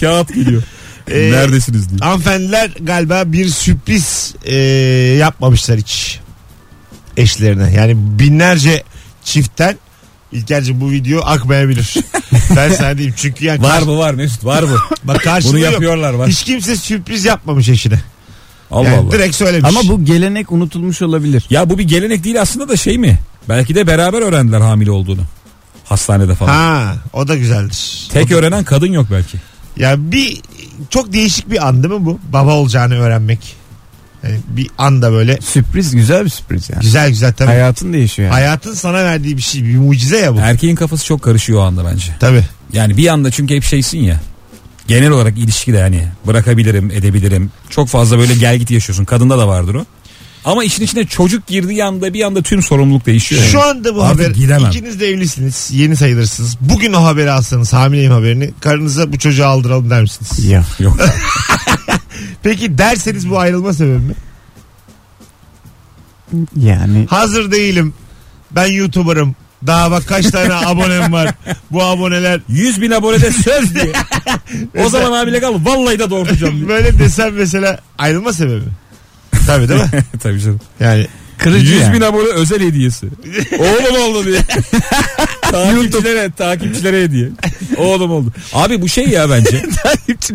Speaker 3: Kağıt geliyor.
Speaker 2: Ee,
Speaker 3: Neredesiniz diye.
Speaker 2: Hanımefendiler galiba bir sürpriz e, yapmamışlar hiç eşlerine. Yani binlerce çiftten İlker'cim bu video akmayabilir. ben sana diyeyim çünkü yani
Speaker 3: Var bu var Mesut var bu.
Speaker 2: bak karşılığı
Speaker 3: Bunu
Speaker 2: yok.
Speaker 3: yapıyorlar var.
Speaker 2: Hiç kimse sürpriz yapmamış eşine.
Speaker 3: Allah
Speaker 2: Yani
Speaker 3: Allah.
Speaker 2: Direkt söylemiş.
Speaker 4: Ama bu gelenek unutulmuş olabilir.
Speaker 3: Ya bu bir gelenek değil aslında da şey mi? Belki de beraber öğrendiler hamile olduğunu. Hastanede falan.
Speaker 2: Ha, o da güzeldir.
Speaker 3: Tek öğrenen kadın yok belki.
Speaker 2: Ya bir çok değişik bir an değil mi bu? Baba olacağını öğrenmek. Yani bir anda böyle
Speaker 4: Sürpriz güzel bir sürpriz yani.
Speaker 2: güzel güzel tabii.
Speaker 4: Hayatın değişiyor yani.
Speaker 2: Hayatın sana verdiği bir şey, bir mucize ya bu.
Speaker 3: Erkeğin kafası çok karışıyor o anda bence.
Speaker 2: Tabii.
Speaker 3: Yani bir anda çünkü hep şeysin ya. Genel olarak ilişkide hani bırakabilirim, edebilirim. Çok fazla böyle gel git yaşıyorsun. Kadında da vardır o. Ama işin içine çocuk girdiği anda bir anda tüm sorumluluk değişiyor.
Speaker 2: Şu
Speaker 3: Yani.
Speaker 2: anda bu
Speaker 3: Artık
Speaker 2: haber
Speaker 3: gidemem.
Speaker 2: ikiniz de evlisiniz yeni sayılırsınız. Bugün o haberi alsanız hamileyim haberini karınıza bu çocuğu aldıralım der misiniz?
Speaker 4: Ya.
Speaker 3: Yok.
Speaker 2: Peki derseniz bu ayrılma sebebi mi?
Speaker 4: Yani
Speaker 2: Hazır değilim ben youtuberım daha bak kaç tane abonem var bu aboneler
Speaker 3: 100 bin abonede söz diye. o zaman hamile kal. Vallahi de doğurtacağım diye.
Speaker 2: böyle desem mesela ayrılma sebebi mi? Tabii değil mi?
Speaker 3: Tabii canım.
Speaker 2: Yani
Speaker 4: kırıcı
Speaker 3: 100
Speaker 4: yani.
Speaker 3: bin abone özel hediyesi. Oğlum oldu diye. takipçilere, takipçilere hediye. Oğlum oldu. Abi bu şey ya bence.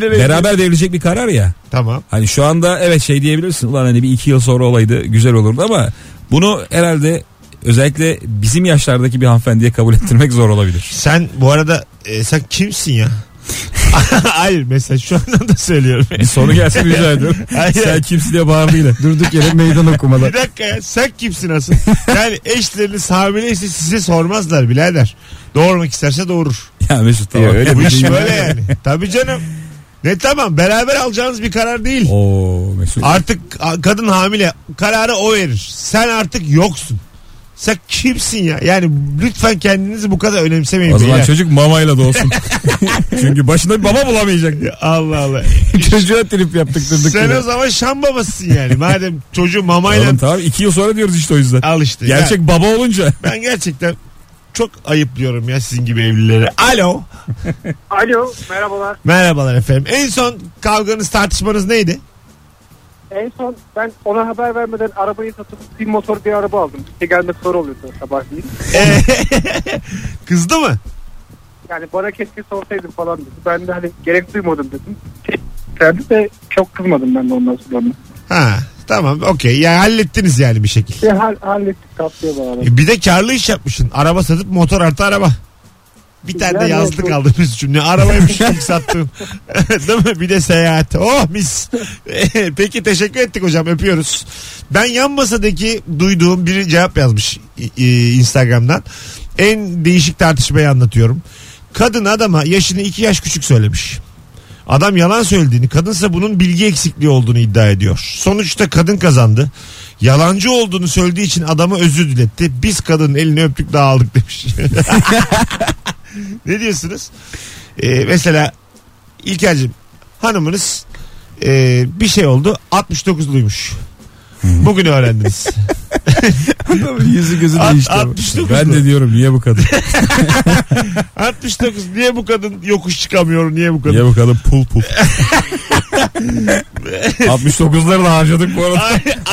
Speaker 3: Beraber verilecek bir karar ya.
Speaker 2: tamam.
Speaker 3: Hani şu anda evet şey diyebilirsin. Ulan hani bir iki yıl sonra olaydı güzel olurdu ama bunu herhalde özellikle bizim yaşlardaki bir hanımefendiye kabul ettirmek zor olabilir.
Speaker 2: Sen bu arada e, sen kimsin ya? Hayır mesela şu anda da söylüyorum.
Speaker 3: Bir soru gelsin rica ediyorum.
Speaker 2: Hayır.
Speaker 3: Sen kimsin diye bağırdığıyla.
Speaker 4: Durduk yere meydan okumalar.
Speaker 2: Bir dakika ya sen kimsin asıl? Yani eşleriniz hamileyse size sormazlar birader. Doğurmak isterse doğurur.
Speaker 3: Ya Mesut tamam.
Speaker 4: Ya öyle
Speaker 2: Bu
Speaker 4: bir
Speaker 2: iş
Speaker 4: şey.
Speaker 2: böyle yani. Tabii canım. Ne tamam beraber alacağınız bir karar değil.
Speaker 3: Oo Mesut.
Speaker 2: Artık a- kadın hamile kararı o verir. Sen artık yoksun. Sen kimsin ya? Yani lütfen kendinizi bu kadar önemsemeyin.
Speaker 3: O zaman
Speaker 2: beyler.
Speaker 3: çocuk mamayla doğsun. Çünkü başında bir baba bulamayacak.
Speaker 2: Ya Allah Allah.
Speaker 4: Çocuğa trip yaptık durduk
Speaker 2: Sen
Speaker 4: yere.
Speaker 2: o zaman şam babasısın yani. Madem çocuğu mamayla
Speaker 3: Oğlum tamam iki yıl sonra diyoruz işte o yüzden.
Speaker 2: al işte. Ya
Speaker 3: Gerçek baba olunca.
Speaker 2: ben gerçekten çok ayıplıyorum ya sizin gibi evlilere. Alo.
Speaker 5: Alo merhabalar.
Speaker 2: Merhabalar efendim. En son kavganız tartışmanız neydi?
Speaker 5: En son ben ona haber vermeden arabayı satıp bir motor bir araba aldım. İşte gelmek zor oluyordu sabahleyin.
Speaker 2: Ee, Kızdı mı?
Speaker 5: Yani bana keşke sorsaydın falan dedi. Ben de hani gerek duymadım dedim. Kendi de çok kızmadım ben de ondan sonra.
Speaker 2: Ha tamam okey. Yani hallettiniz yani bir şekilde.
Speaker 5: Şey, hal, hallettik tatlıya bağlı.
Speaker 2: E, Bir de karlı iş yapmışsın. Araba satıp motor artı araba. Bir tane de
Speaker 5: Yani
Speaker 2: yazlık
Speaker 5: bu-
Speaker 2: aldığımız cümle. Arabaymış ilk sattığım. şey Değil mi? Bir de seyahat. Oh mis. Peki teşekkür ettik hocam. Öpüyoruz. Ben yan masadaki duyduğum biri cevap yazmış i- i- Instagram'dan. En değişik tartışmayı anlatıyorum. Kadın adama yaşını iki yaş küçük söylemiş. Adam yalan söylediğini, kadınsa bunun bilgi eksikliği olduğunu iddia ediyor. Sonuçta kadın kazandı. Yalancı olduğunu söylediği için adamı özür diletti. Biz kadının elini öptük dağıldık demiş. ne diyorsunuz? Ee, mesela İlker'cim hanımınız e, bir şey oldu 69'luymuş.
Speaker 3: Hmm.
Speaker 2: Bugün öğrendiniz.
Speaker 4: Yüzü gözü
Speaker 2: At-
Speaker 4: değişti. ama.
Speaker 2: 69'lu.
Speaker 3: Ben de diyorum niye bu kadın?
Speaker 2: 69 niye bu kadın yokuş çıkamıyor niye bu kadın?
Speaker 3: Niye bu kadın pul pul? 69'ları da harcadık bu arada.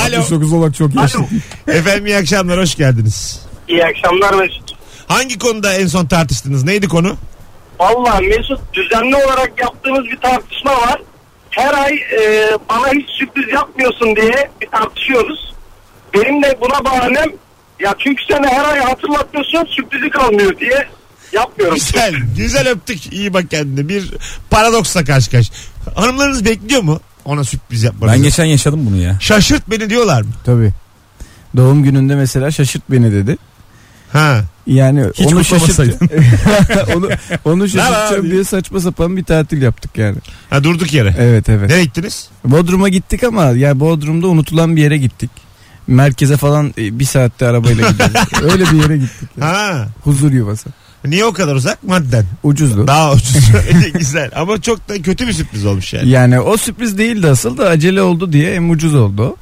Speaker 2: Alo.
Speaker 3: 69 olarak çok yaşlı.
Speaker 2: Efendim iyi akşamlar hoş geldiniz.
Speaker 6: İyi akşamlar Mesut.
Speaker 2: Hangi konuda en son tartıştınız? Neydi konu?
Speaker 6: Valla Mesut düzenli olarak yaptığımız bir tartışma var. Her ay e, bana hiç sürpriz yapmıyorsun diye bir tartışıyoruz. Benim de buna bahanem ya çünkü sen her ay hatırlatıyorsun sürprizi kalmıyor diye yapmıyorum.
Speaker 2: Güzel. Güzel öptük. İyi bak kendine. Bir paradoksla karşı karşı. Hanımlarınız bekliyor mu? Ona sürpriz yapmanızı.
Speaker 3: Ben geçen yaşadım bunu ya.
Speaker 2: Şaşırt beni diyorlar mı?
Speaker 4: Tabii. Doğum gününde mesela şaşırt beni dedi.
Speaker 2: Ha.
Speaker 4: Yani
Speaker 3: Hiç
Speaker 4: onu şaşırt
Speaker 3: kutlamasaydın.
Speaker 4: onu onu
Speaker 2: La la
Speaker 4: şaşırtacağım diye saçma sapan bir tatil yaptık yani.
Speaker 2: Ha durduk yere.
Speaker 4: Evet evet.
Speaker 2: Nereye gittiniz?
Speaker 4: Bodrum'a gittik ama ya Bodrum'da unutulan bir yere gittik. Merkeze falan e, bir saatte arabayla gidiyoruz. Öyle bir yere gittik. ya.
Speaker 2: Ha.
Speaker 4: Huzur yuvası.
Speaker 2: Niye o kadar uzak? Madden.
Speaker 4: Ucuzdu.
Speaker 2: Daha ucuz. Güzel. Ama çok da kötü bir sürpriz olmuş yani.
Speaker 4: Yani o sürpriz değildi asıl da acele oldu diye en ucuz oldu. o.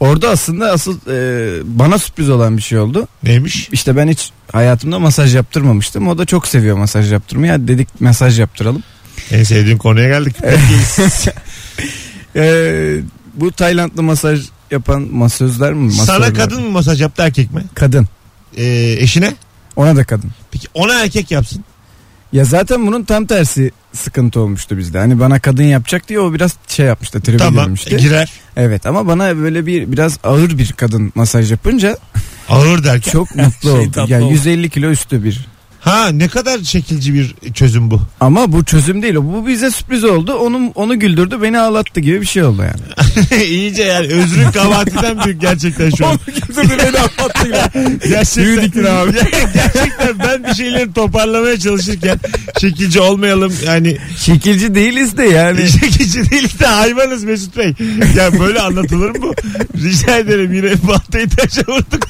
Speaker 4: Orada aslında asıl e, bana sürpriz olan bir şey oldu.
Speaker 2: Neymiş?
Speaker 4: İşte ben hiç hayatımda masaj yaptırmamıştım. O da çok seviyor masaj yaptırmayı. Hadi dedik masaj yaptıralım.
Speaker 2: En sevdiğim konuya geldik. Peki,
Speaker 4: E, bu Taylandlı masaj yapan masözler mi?
Speaker 2: sana
Speaker 4: Masörler.
Speaker 2: kadın mı masaj yaptı erkek mi?
Speaker 4: Kadın.
Speaker 2: Ee, eşine?
Speaker 4: Ona da kadın.
Speaker 2: Peki ona erkek yapsın.
Speaker 4: Ya zaten bunun tam tersi sıkıntı olmuştu bizde. Hani bana kadın yapacak diye o biraz şey yapmıştı. Tribe
Speaker 2: tamam
Speaker 4: girmişti.
Speaker 2: girer.
Speaker 4: Evet ama bana böyle bir biraz ağır bir kadın masaj yapınca
Speaker 2: Ağır derken.
Speaker 4: çok mutlu
Speaker 3: Şey
Speaker 4: oldum.
Speaker 3: tatlı
Speaker 4: Yani
Speaker 3: oldu.
Speaker 4: 150 kilo üstü bir.
Speaker 2: Ha ne kadar şekilci bir çözüm bu.
Speaker 4: Ama bu çözüm değil. Bu bize sürpriz oldu. Onun onu güldürdü, beni ağlattı gibi bir şey oldu yani.
Speaker 2: İyice yani özrün kabahatinden büyük gerçekten şu an. Gerçekten,
Speaker 4: Büyüdük yine abi.
Speaker 2: gerçekten ben bir şeyleri toparlamaya çalışırken şekilci olmayalım yani
Speaker 4: Şekilci değiliz de yani.
Speaker 2: şekilci değil de hayvanız Mesut Bey. Ya böyle anlatılır mı? Rica ederim yine baltayı taşa vurduk.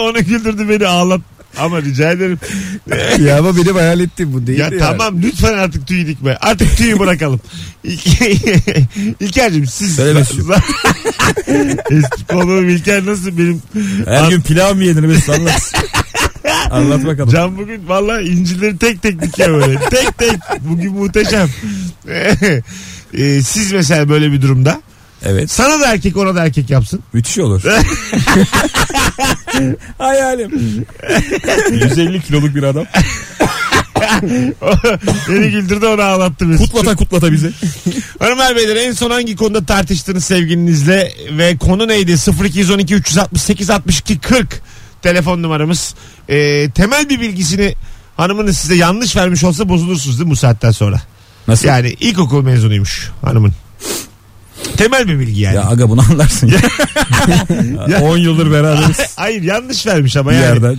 Speaker 2: Onu güldürdü beni ağlat. Ama rica ederim.
Speaker 4: ya ama benim hayal ettiğim bu değil.
Speaker 2: Ya tamam lütfen artık tüy dikme. Artık tüyü bırakalım. İlk- İlker'cim siz...
Speaker 3: Söyle
Speaker 2: za-
Speaker 3: Mesut'cum.
Speaker 2: za- Eski konuğum İlker nasıl benim...
Speaker 3: Her gün pilav mı yenir Mesut anlat. anlat bakalım.
Speaker 2: Can bugün valla incileri tek tek dikiyor böyle. tek tek. Bugün muhteşem. Ee, siz mesela böyle bir durumda.
Speaker 3: Evet
Speaker 2: Sana da erkek ona da erkek yapsın.
Speaker 3: müthiş olur. Hayalim. 150 kiloluk bir adam.
Speaker 2: Beni güldürdü onu ağlattı. Biz.
Speaker 3: Kutlata kutlata bizi.
Speaker 2: Hanımlar beyler en son hangi konuda tartıştınız sevgilinizle ve konu neydi? 0212 368 62 40 telefon numaramız. Ee, temel bir bilgisini hanımınız size yanlış vermiş olsa bozulursunuz değil mi bu saatten sonra?
Speaker 3: Nasıl?
Speaker 2: Yani ilkokul mezunuymuş hanımın. Temel bir bilgi yani.
Speaker 3: Ya aga bunu anlarsın. ya. 10 yıldır beraberiz
Speaker 2: Hayır yanlış vermiş ama
Speaker 3: bir
Speaker 2: yani.
Speaker 3: yerde.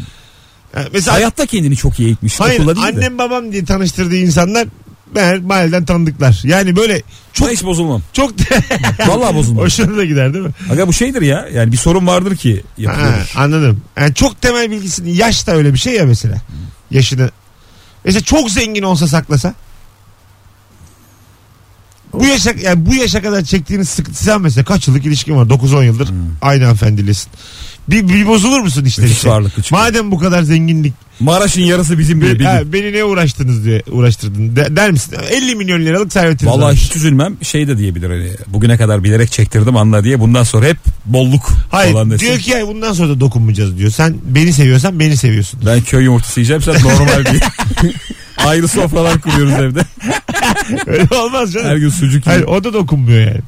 Speaker 2: Ha, Mesela
Speaker 3: Hayatta kendini çok iyi eğitmiş.
Speaker 2: hayır
Speaker 3: Okulda değil de.
Speaker 2: annem babam diye tanıştırdığı insanlar meğer mahalleden tanıdıklar. Yani böyle
Speaker 3: Ben hiç bozulmam.
Speaker 2: çok şey-
Speaker 3: Vallahi bozulmam.
Speaker 2: hoşuna da gider değil mi?
Speaker 3: Aga bu şeydir ya. Yani bir sorun vardır ki
Speaker 2: Ha,
Speaker 3: yapılıyormuş.
Speaker 2: anladım. Yani çok temel bilgisini yaş da öyle bir şey ya mesela. Yaşını. Mesela çok zengin olsa saklasa. Bu yaşa, yani bu yaşa kadar çektiğiniz sıkıntı sen mesela kaç yıllık ilişkin var? 9-10 yıldır aynı hanımefendilesin. Bir, bir bozulur musun işte?
Speaker 3: Hmm. Müthiş
Speaker 2: işte?
Speaker 3: varlık küçük.
Speaker 2: Madem bu kadar zenginlik
Speaker 3: Maraş'ın yarısı bizim diye
Speaker 2: be-
Speaker 3: bir
Speaker 2: ha,
Speaker 3: gün.
Speaker 2: beni ne uğraştınız diye uğraştırdın de- der misin? 50 milyon liralık servetiniz
Speaker 3: Vallahi
Speaker 2: varmış.
Speaker 3: hiç üzülmem. Şey de diyebilir hani bugüne kadar bilerek çektirdim anla diye. Bundan sonra hep bolluk
Speaker 2: Hayır
Speaker 3: falan desin.
Speaker 2: diyor ki "Ay, bundan sonra da dokunmayacağız diyor. Sen beni seviyorsan beni seviyorsun.
Speaker 3: Ben köy yumurtası yiyeceğim sen normal diye. Ayrı sofralar kuruyoruz evde.
Speaker 2: Öyle olmaz
Speaker 3: Her
Speaker 2: canım.
Speaker 3: gün sucuk
Speaker 2: Hayır
Speaker 3: yiyor.
Speaker 2: o da dokunmuyor yani.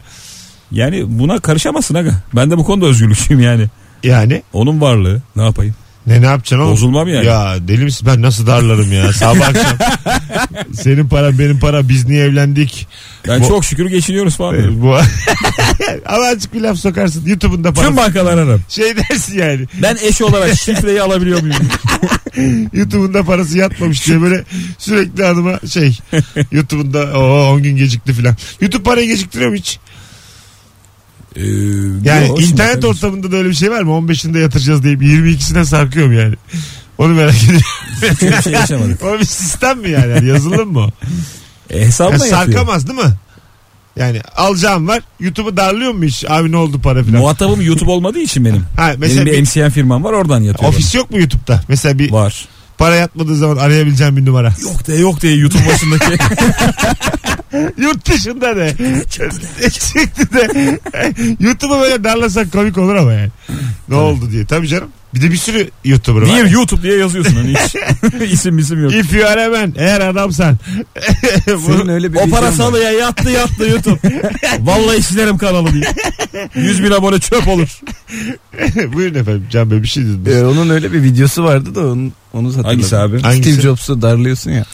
Speaker 3: Yani buna karışamazsın aga. Ben de bu konuda özgürlükçüyüm yani.
Speaker 2: Yani
Speaker 3: Onun varlığı ne yapayım?
Speaker 2: ne ne yapacaksın oğlum?
Speaker 3: Bozulmam yani.
Speaker 2: Ya deli misin ben nasıl darlarım ya sabah akşam. Senin paran benim para biz niye evlendik?
Speaker 3: Ben
Speaker 2: Bu-
Speaker 3: çok şükür geçiniyoruz falan. diyorum.
Speaker 2: Ee, Bu... Ama açık bir laf sokarsın. YouTube'un da
Speaker 3: Tüm
Speaker 2: parası.
Speaker 3: bankalar ararım.
Speaker 2: Şey dersin yani.
Speaker 3: Ben eş olarak şifreyi alabiliyor muyum?
Speaker 2: YouTube'un da parası yatmamış diye böyle sürekli hanıma şey. YouTube'un da o 10 gün gecikti filan. YouTube parayı geciktiriyor mu hiç?
Speaker 3: Ee,
Speaker 2: Yani
Speaker 3: yok, şimdi
Speaker 2: internet
Speaker 3: bakarız.
Speaker 2: ortamında da öyle bir şey var mı? 15'inde yatıracağız deyip 22'sine sarkıyorum yani. Onu merak
Speaker 3: Şöyle bir şey
Speaker 2: ediyorum.
Speaker 3: yaşamadık.
Speaker 2: o bir sistem mi yani? yani yazılım mı? o?
Speaker 3: E, hesabına
Speaker 2: Ya
Speaker 3: yatıyor.
Speaker 2: sarkamaz değil mi? Yani alacağım var. YouTube'u darlıyor mu hiç? Abi ne oldu para filan?
Speaker 3: Muhatabım YouTube olmadığı için benim.
Speaker 2: Ha, mesela
Speaker 3: benim bir,
Speaker 2: bir-
Speaker 3: MCN firmam var oradan yatıyor.
Speaker 2: Ofis yok mu YouTube'da? Mesela bir
Speaker 3: bana. var.
Speaker 2: para yatmadığı zaman arayabileceğim bir numara.
Speaker 3: Yok de yok de YouTube başındaki.
Speaker 2: Yurt dışında de. Çıktı de. YouTube'u böyle darlasak komik olur ama yani. Ne oldu diye. Tabii canım. Bir de bir sürü YouTuber var.
Speaker 3: Niye YouTube diye yazıyorsun hani hiç. İsim isim yok.
Speaker 2: If you are a man, eğer adamsan.
Speaker 4: Senin öyle bir
Speaker 3: O
Speaker 4: vizyonun
Speaker 3: para
Speaker 4: var.
Speaker 3: salıya yattı yattı YouTube. Vallahi silerim kanalı diye. 100 bin abone çöp olur.
Speaker 2: Buyurun efendim Can Bey bir şey dediniz.
Speaker 4: Ee, onun öyle bir videosu vardı da onu, onu hatırladım.
Speaker 3: Hangisi abi?
Speaker 2: Hangisi?
Speaker 4: Steve Jobs'u darlıyorsun ya.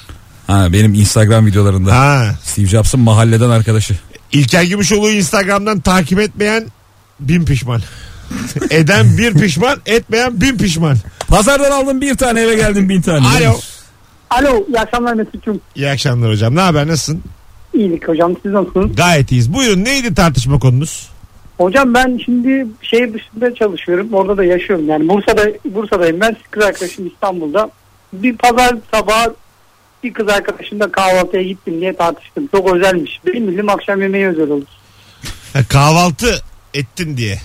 Speaker 3: Ha benim Instagram videolarında.
Speaker 2: Ha.
Speaker 3: Steve Jobs'ın mahalleden arkadaşı.
Speaker 2: İlker Gümüşoğlu'yu Instagram'dan takip etmeyen bin pişman. Eden bir pişman, etmeyen bin pişman.
Speaker 3: Pazardan aldım bir tane eve geldim bin tane.
Speaker 2: Alo.
Speaker 5: Alo iyi akşamlar Mesut'cum.
Speaker 2: İyi akşamlar hocam. Ne haber? Nasılsın?
Speaker 5: İyilik hocam siz nasılsınız?
Speaker 2: Gayet iyiyiz. Buyurun neydi tartışma konunuz?
Speaker 5: Hocam ben şimdi şey şehir dışında çalışıyorum. Orada da yaşıyorum. Yani Bursa'da Bursa'dayım ben. Kız arkadaşım İstanbul'da. bir pazar sabahı bir kız arkadaşımla kahvaltıya gittim diye tartıştım. Çok özelmiş. Benim bildiğim akşam yemeği özel olur.
Speaker 2: Ha, kahvaltı ettin diye.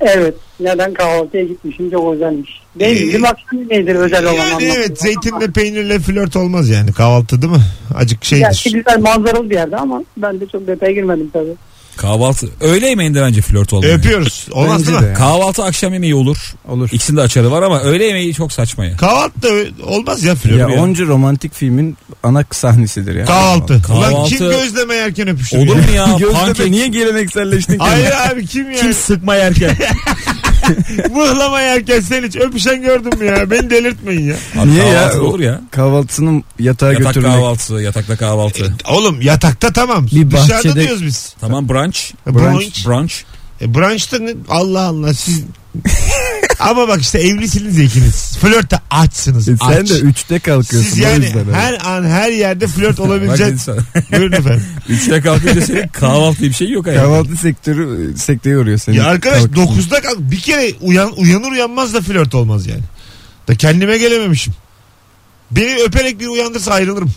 Speaker 5: Evet. Neden kahvaltıya gitmişim çok özelmiş. Benim
Speaker 2: Ee,
Speaker 5: bildiğim akşam yemeğidir özel olan
Speaker 2: Yani
Speaker 5: anlamda.
Speaker 2: evet zeytinle peynirle flört olmaz yani kahvaltı değil mi? Acık
Speaker 5: Gerçi
Speaker 2: şeydir.
Speaker 5: güzel manzaralı bir yerde ama ben de çok detaya girmedim tabii.
Speaker 3: Kahvaltı. Öğle yemeğinde bence flört olmuyor.
Speaker 2: Öpüyoruz. Olmaz
Speaker 4: Bence
Speaker 2: değil
Speaker 4: de
Speaker 2: mi?
Speaker 4: ya.
Speaker 3: Kahvaltı akşam yemeği olur.
Speaker 4: Olur.
Speaker 3: İkisinde açarı var ama öğle yemeği çok saçma ya.
Speaker 2: Kahvaltı da ö- olmaz ya flört.
Speaker 4: Ya onca romantik filmin ana sahnesidir ya.
Speaker 2: Kahvaltı. Ulan
Speaker 3: Kahvaltı-
Speaker 2: kim gözleme yerken öpüşür
Speaker 3: Olur
Speaker 2: ya?
Speaker 3: mu ya?
Speaker 4: Gözleme
Speaker 3: Pankek.
Speaker 4: niye gelenekselleştin ki?
Speaker 2: Hayır abi kim yani?
Speaker 3: Kim sıkma yerken?
Speaker 2: Mıhlama yerken sen hiç öpüşen gördün mü ya? Beni delirtmeyin ya.
Speaker 3: Abi
Speaker 4: Niye ya?
Speaker 3: kahvaltı Olur ya.
Speaker 4: Kahvaltısını yatağa
Speaker 3: Yatak
Speaker 4: götürmek.
Speaker 3: kahvaltısı, yatakta kahvaltı.
Speaker 2: Oğlum yatakta tamam.
Speaker 4: Bir
Speaker 2: Dışarıda
Speaker 4: bahçede-
Speaker 2: diyoruz biz.
Speaker 3: Tamam brunch.
Speaker 2: Brunch.
Speaker 3: Brunch.
Speaker 2: E, brunch'ta ne? Allah Allah siz... Ama bak işte evlisiniz ikiniz. Flörtte açsınız.
Speaker 4: E, Sen
Speaker 2: aç.
Speaker 4: de üçte kalkıyorsun.
Speaker 2: Siz
Speaker 4: o
Speaker 2: yani
Speaker 4: yüzden öyle.
Speaker 2: her an her yerde flört
Speaker 3: Bak
Speaker 2: olabilecek.
Speaker 3: dedi sana.
Speaker 2: Buyurun efendim.
Speaker 3: Üçte kalkınca senin kahvaltı diye bir şey yok hayatım.
Speaker 4: Kahvaltı sektörü sekteye uğruyor seni.
Speaker 2: Ya arkadaş
Speaker 4: Kalk-
Speaker 2: 9'da kalk. Bir kere uyan, uyanır uyanmaz da flört olmaz yani. Da kendime gelememişim. Beni öperek bir uyandırsa ayrılırım.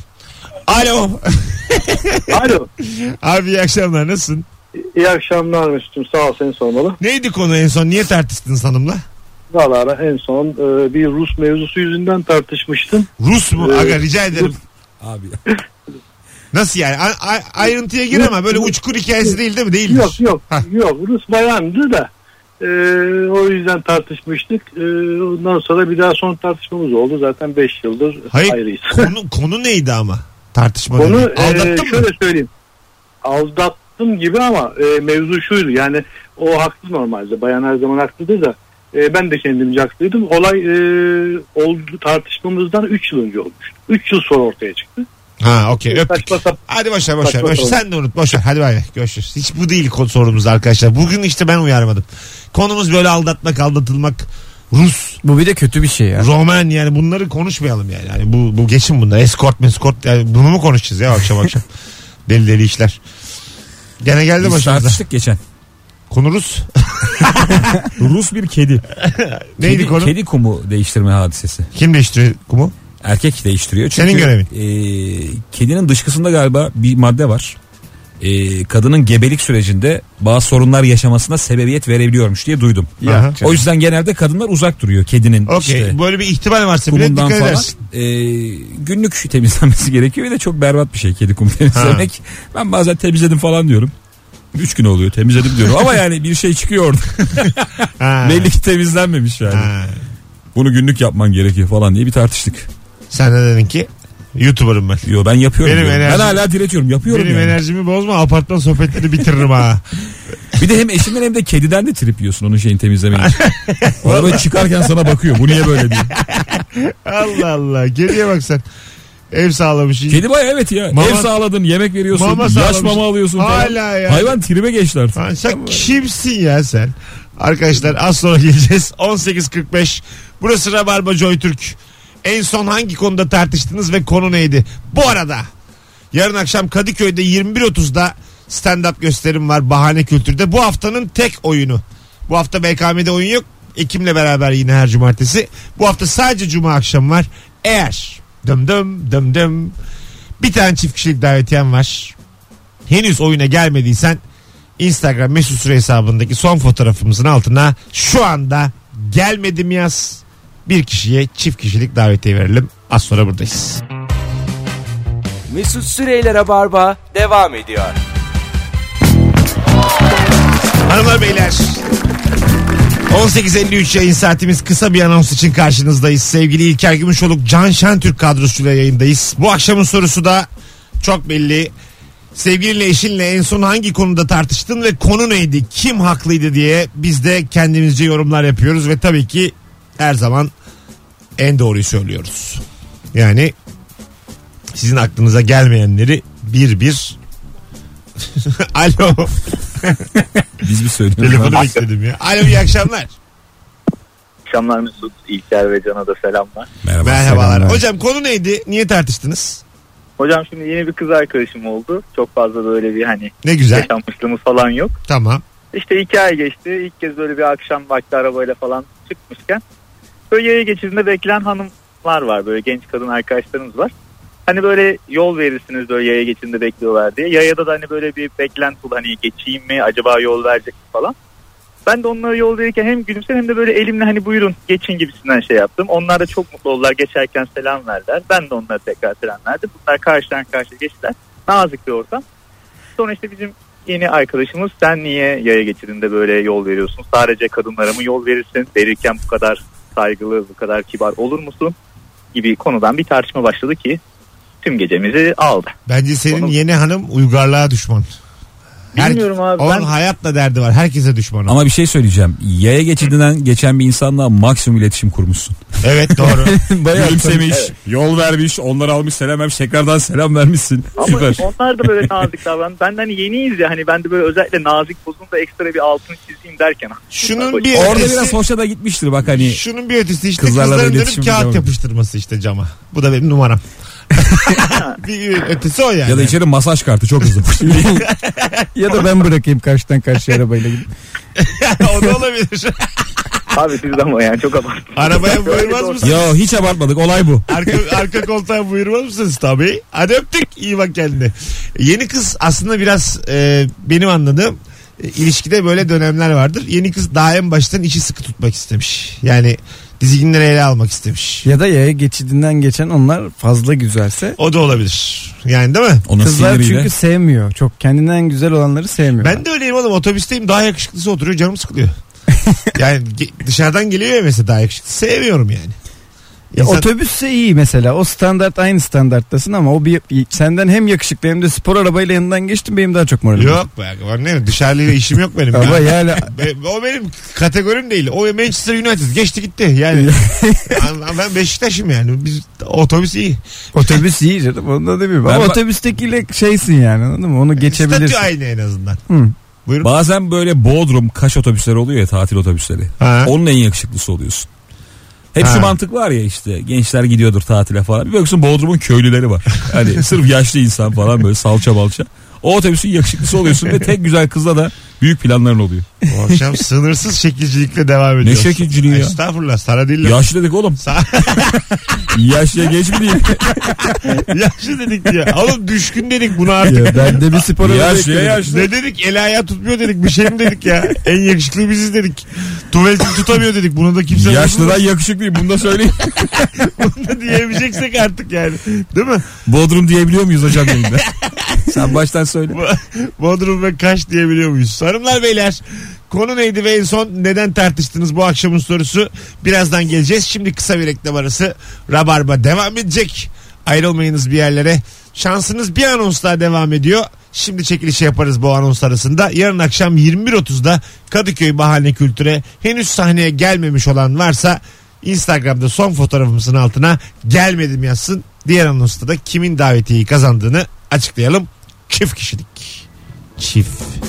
Speaker 2: Alo.
Speaker 5: Alo.
Speaker 2: Abi iyi akşamlar nasılsın?
Speaker 5: İyi akşamlar Mesut'um. Sağ ol seni sormalı.
Speaker 2: Neydi konu en son? Niye tartıştınız hanımla?
Speaker 5: Valla en son e, bir Rus mevzusu yüzünden tartışmıştım.
Speaker 2: Rus mu? Aga rica ederim.
Speaker 3: Abi.
Speaker 2: Nasıl yani? A- a- ayrıntıya gir ama böyle uçkur hikayesi değil değil mi? Değildir.
Speaker 5: Yok yok
Speaker 2: Hah.
Speaker 5: yok Rus bayandı da e, o yüzden tartışmıştık. E, ondan sonra bir daha son tartışmamız oldu. Zaten 5 yıldır
Speaker 2: Hayır.
Speaker 5: ayrıyız.
Speaker 2: Konu, konu neydi ama? Tartışma.
Speaker 5: Onu
Speaker 2: dediğin.
Speaker 5: e,
Speaker 2: Aldattın mı?
Speaker 5: şöyle söyleyeyim. Aldattım gibi ama e, mevzu şuydu. Yani o haklı normalde. Bayan her zaman haklıdır da e, ben de kendimce haklıydım. Olay e, oldu tartışmamızdan 3 yıl önce olmuştu. 3 yıl sonra ortaya çıktı.
Speaker 2: Ha okey öptük.
Speaker 5: Saçma sapan
Speaker 2: Hadi boşver boşver.
Speaker 5: Saçma
Speaker 2: boşver.
Speaker 5: sorun.
Speaker 2: Sen de unut boşver. Hadi bay bay. Görüşürüz. Hiç bu değil konu- sorumuz arkadaşlar. Bugün işte ben uyarmadım. Konumuz böyle aldatmak, aldatılmak. Rus,
Speaker 4: Bu bir de kötü bir şey ya.
Speaker 2: Roman yani bunları konuşmayalım yani. yani bu, bu geçin bunlar. Escort, meskort yani bunu mu konuşacağız ya akşam akşam? deli deli işler. Gene geldi
Speaker 3: Biz
Speaker 2: başımıza.
Speaker 3: tartıştık geçen.
Speaker 2: Konu Rus.
Speaker 3: Rus bir kedi.
Speaker 2: Neydi
Speaker 3: kedi,
Speaker 2: konu?
Speaker 3: Kedi kumu değiştirme hadisesi.
Speaker 2: Kim değiştiriyor kumu?
Speaker 3: Erkek değiştiriyor. Çünkü,
Speaker 2: Senin görevin.
Speaker 3: e, kedinin dışkısında galiba bir madde var. E, kadının gebelik sürecinde bazı sorunlar yaşamasına sebebiyet verebiliyormuş diye duydum.
Speaker 2: Aha.
Speaker 4: Ya.
Speaker 3: O yüzden genelde kadınlar uzak duruyor kedinin
Speaker 2: Okey.
Speaker 3: işte
Speaker 2: Böyle bir ihtimal varsa bile
Speaker 3: kumundan
Speaker 2: dikkat
Speaker 3: falan.
Speaker 2: edersin.
Speaker 3: E, günlük temizlenmesi gerekiyor ve de çok berbat bir şey kedi kumu temizlemek. Ben bazen temizledim falan diyorum. Üç gün oluyor temizledim diyorum ama yani bir şey çıkıyor orada.
Speaker 2: Ha.
Speaker 3: Belli ki temizlenmemiş yani.
Speaker 2: Ha.
Speaker 3: Bunu günlük yapman gerekiyor falan diye bir tartıştık.
Speaker 2: Sen de dedin ki YouTuber'ım ben.
Speaker 3: Yo ben yapıyorum.
Speaker 2: Benim
Speaker 3: diyorum.
Speaker 2: enerjim-
Speaker 3: ben hala diretiyorum yapıyorum
Speaker 2: Benim
Speaker 3: yani.
Speaker 2: enerjimi bozma apartman sohbetleri bitiririm ha.
Speaker 3: Bir de hem eşinden hem de kediden de trip yiyorsun onun şeyini temizlemeyi. Ona böyle çıkarken sana bakıyor bu niye böyle diye.
Speaker 2: Allah Allah. Geriye bak sen. Ev sağlamış.
Speaker 3: Kedi baya evet ya.
Speaker 2: Mama-
Speaker 3: Ev sağladın yemek veriyorsun.
Speaker 2: Mama
Speaker 3: yaş
Speaker 2: sağlamış.
Speaker 3: mama alıyorsun falan.
Speaker 2: Hala ya.
Speaker 3: Hayvan tribe geçti artık.
Speaker 2: Lan sen kimsin ya sen? Arkadaşlar az sonra geleceğiz. 18.45. Burası Rabarba Joy Türk. En son hangi konuda tartıştınız ve konu neydi? Bu arada yarın akşam Kadıköy'de 21.30'da stand-up gösterim var Bahane Kültür'de. Bu haftanın tek oyunu. Bu hafta BKM'de oyun yok. Ekim'le beraber yine her cumartesi. Bu hafta sadece cuma akşamı var. Eğer dım dım dım dım bir tane çift kişilik davetiyem var. Henüz oyuna gelmediysen Instagram mesut süre hesabındaki son fotoğrafımızın altına şu anda gelmedim yaz. Bir kişiye çift kişilik davetiye verelim. Az sonra buradayız.
Speaker 1: Mesut Süreyler'e barba devam ediyor.
Speaker 2: Hanımlar beyler 18.53 yayın saatimiz kısa bir anons için karşınızdayız. Sevgili İlker Gümüşoluk, Can Şentürk kadrosuyla yayındayız. Bu akşamın sorusu da çok belli. Sevgilinle eşinle en son hangi konuda tartıştın ve konu neydi? Kim haklıydı diye biz de kendimizce yorumlar yapıyoruz ve tabii ki her zaman en doğruyu söylüyoruz. Yani sizin aklınıza gelmeyenleri bir bir Alo.
Speaker 3: Biz bir söylüyoruz.
Speaker 2: Telefonu bekledim ya. Alo iyi akşamlar.
Speaker 7: akşamlar Mesut. İlker ve Can'a da selamlar.
Speaker 3: Merhaba.
Speaker 2: Merhabalar.
Speaker 4: selamlar.
Speaker 2: Hocam konu neydi? Niye tartıştınız?
Speaker 7: Hocam şimdi yeni bir kız arkadaşım oldu. Çok fazla böyle bir hani
Speaker 2: Ne güzel.
Speaker 7: yaşanmışlığımız falan yok.
Speaker 2: Tamam.
Speaker 7: İşte iki ay geçti. İlk kez böyle bir akşam vakti arabayla falan çıkmışken. Böyle yaya geçidinde bekleyen hanım
Speaker 5: gruplar var böyle genç kadın arkadaşlarımız var. Hani böyle yol verirsiniz böyle yaya geçidinde bekliyorlar diye. Yayada da hani böyle bir beklenti olur, hani geçeyim mi acaba yol verecek mi falan. Ben de onlara yol verirken hem gülümser hem de böyle elimle hani buyurun geçin gibisinden şey yaptım. Onlar da çok mutlu oldular geçerken selam verdiler. Ben de onlara tekrar selam verdim. Bunlar karşıdan karşıya geçtiler. Nazik bir ortam. Sonra işte bizim yeni arkadaşımız sen niye yaya geçidinde böyle yol veriyorsun? Sadece kadınlara mı yol verirsin? Verirken bu kadar saygılı, bu kadar kibar olur musun? Gibi konudan bir tartışma başladı ki tüm gecemizi aldı.
Speaker 2: Bence senin
Speaker 5: Onu-
Speaker 2: yeni hanım uygarlığa düşman. Her-
Speaker 5: Bilmiyorum abi.
Speaker 2: Onun
Speaker 5: ben-
Speaker 2: hayatla derdi var. Herkese düşman. o.
Speaker 3: Ama bir şey söyleyeceğim. Yaya geçidinden geçen bir insanla maksimum iletişim kurmuşsun.
Speaker 2: Evet doğru.
Speaker 3: Bayağı Gülümsemiş, yol vermiş, onları almış selam vermiş, tekrardan selam vermişsin.
Speaker 5: Ama
Speaker 3: Süper.
Speaker 5: onlar da böyle nazik davran. Ben de hani yeniyiz ya hani ben de böyle özellikle nazik bozunda ekstra bir altını çizeyim derken.
Speaker 2: Şunun bir
Speaker 3: Orada
Speaker 2: ötesi-
Speaker 3: biraz hoşa da gitmiştir bak hani.
Speaker 2: Şunun bir ötesi işte
Speaker 3: Kızlarla da
Speaker 2: kızların dönüp
Speaker 3: iletişim devam
Speaker 2: kağıt
Speaker 3: ediyor.
Speaker 2: yapıştırması işte cama. Bu da benim numaram. bir ötesi o yani.
Speaker 3: Ya da içeri masaj kartı çok hızlı.
Speaker 4: ya da ben bırakayım karşıdan karşıya arabayla gidip.
Speaker 2: o da olabilir.
Speaker 5: Abi siz de ama yani çok abarttınız.
Speaker 2: Arabaya buyurmaz mısınız?
Speaker 3: Yo hiç abartmadık olay bu.
Speaker 2: Arka, arka koltuğa buyurmaz mısınız tabii? Hadi öptük. İyi bak kendine. Yeni kız aslında biraz e, benim anladığım e, ilişkide böyle dönemler vardır. Yeni kız daha en baştan içi sıkı tutmak istemiş. Yani dizginleri ele almak istemiş.
Speaker 4: Ya da yaya geçidinden geçen onlar fazla güzelse.
Speaker 2: O da olabilir. Yani değil mi?
Speaker 3: Onun
Speaker 4: Kızlar
Speaker 3: siniriyle.
Speaker 4: çünkü sevmiyor. Çok kendinden güzel olanları sevmiyor.
Speaker 2: Ben de öyleyim oğlum otobüsteyim daha yakışıklısı oturuyor canım sıkılıyor. yani ge- dışarıdan geliyor ya mesela daha yakışıklı. Sevmiyorum yani.
Speaker 4: Ya
Speaker 2: İnsan-
Speaker 4: Otobüsse iyi mesela. O standart aynı standarttasın ama o bir senden hem yakışıklı hem de spor arabayla yanından geçtim benim daha çok moralim.
Speaker 2: Yok be var ne dışarıyla işim yok benim.
Speaker 4: Ama
Speaker 2: ya.
Speaker 4: yani
Speaker 2: Be- o benim kategorim değil. O Manchester United geçti gitti yani. Anla- ben Beşiktaş'ım yani. Biz otobüs iyi.
Speaker 4: otobüs iyi canım onu da demiyorum. Ama
Speaker 3: Ben ba-
Speaker 4: otobüstekiyle şeysin yani anladın mı? Onu geçebilirsin.
Speaker 2: Statü aynı en azından.
Speaker 4: Hı.
Speaker 2: Buyurun.
Speaker 3: Bazen böyle Bodrum kaş otobüsleri oluyor ya tatil otobüsleri.
Speaker 2: Ha.
Speaker 3: Onun en yakışıklısı oluyorsun. Hep
Speaker 2: Ha.
Speaker 3: şu mantık var ya işte gençler gidiyordur tatile falan. Bir bakıyorsun Bodrum'un köylüleri var. Hani sırf yaşlı insan falan böyle salça balça. O otobüsün yakışıklısı oluyorsun ve tek güzel kızla da büyük planların oluyor.
Speaker 2: Bu akşam sınırsız şekilcilikle devam ediyoruz.
Speaker 3: şekilciliği ya?
Speaker 2: Estağfurullah sana değil. lan.
Speaker 3: Yaşlı dedik oğlum. Yaşlıya geç mi değil?
Speaker 2: Yaşlı dedik ya. Oğlum düşkün dedik buna artık.
Speaker 4: Ya ben de bir spor arabası
Speaker 3: Yaşlıya
Speaker 4: bekliyorum.
Speaker 3: yaşlı.
Speaker 2: Ne dedik? El ayağı tutmuyor dedik. Bir şey mi dedik ya? En yakışıklı biziz dedik. Tuvaletini tutamıyor dedik. Bunu da kimse
Speaker 3: Yaşlıdan yakışıklıyım bunu da söyleyeyim.
Speaker 2: bozulmasın diyebileceksek artık yani. Değil mi?
Speaker 3: Bodrum diyebiliyor muyuz hocam yayında? Sen baştan söyle.
Speaker 2: Bo- Bodrum ve Kaş diyebiliyor muyuz? Hanımlar beyler konu neydi ve en son neden tartıştınız bu akşamın sorusu? Birazdan geleceğiz. Şimdi kısa bir reklam arası. Rabarba devam edecek. Ayrılmayınız bir yerlere. Şansınız bir anons daha devam ediyor. Şimdi çekilişi yaparız bu anons arasında. Yarın akşam 21.30'da Kadıköy Bahane Kültür'e henüz sahneye gelmemiş olan varsa Instagram'da son fotoğrafımızın altına gelmedim yazsın. Diğer anonsta da kimin davetiyeyi kazandığını açıklayalım. Çift kişilik. Çift.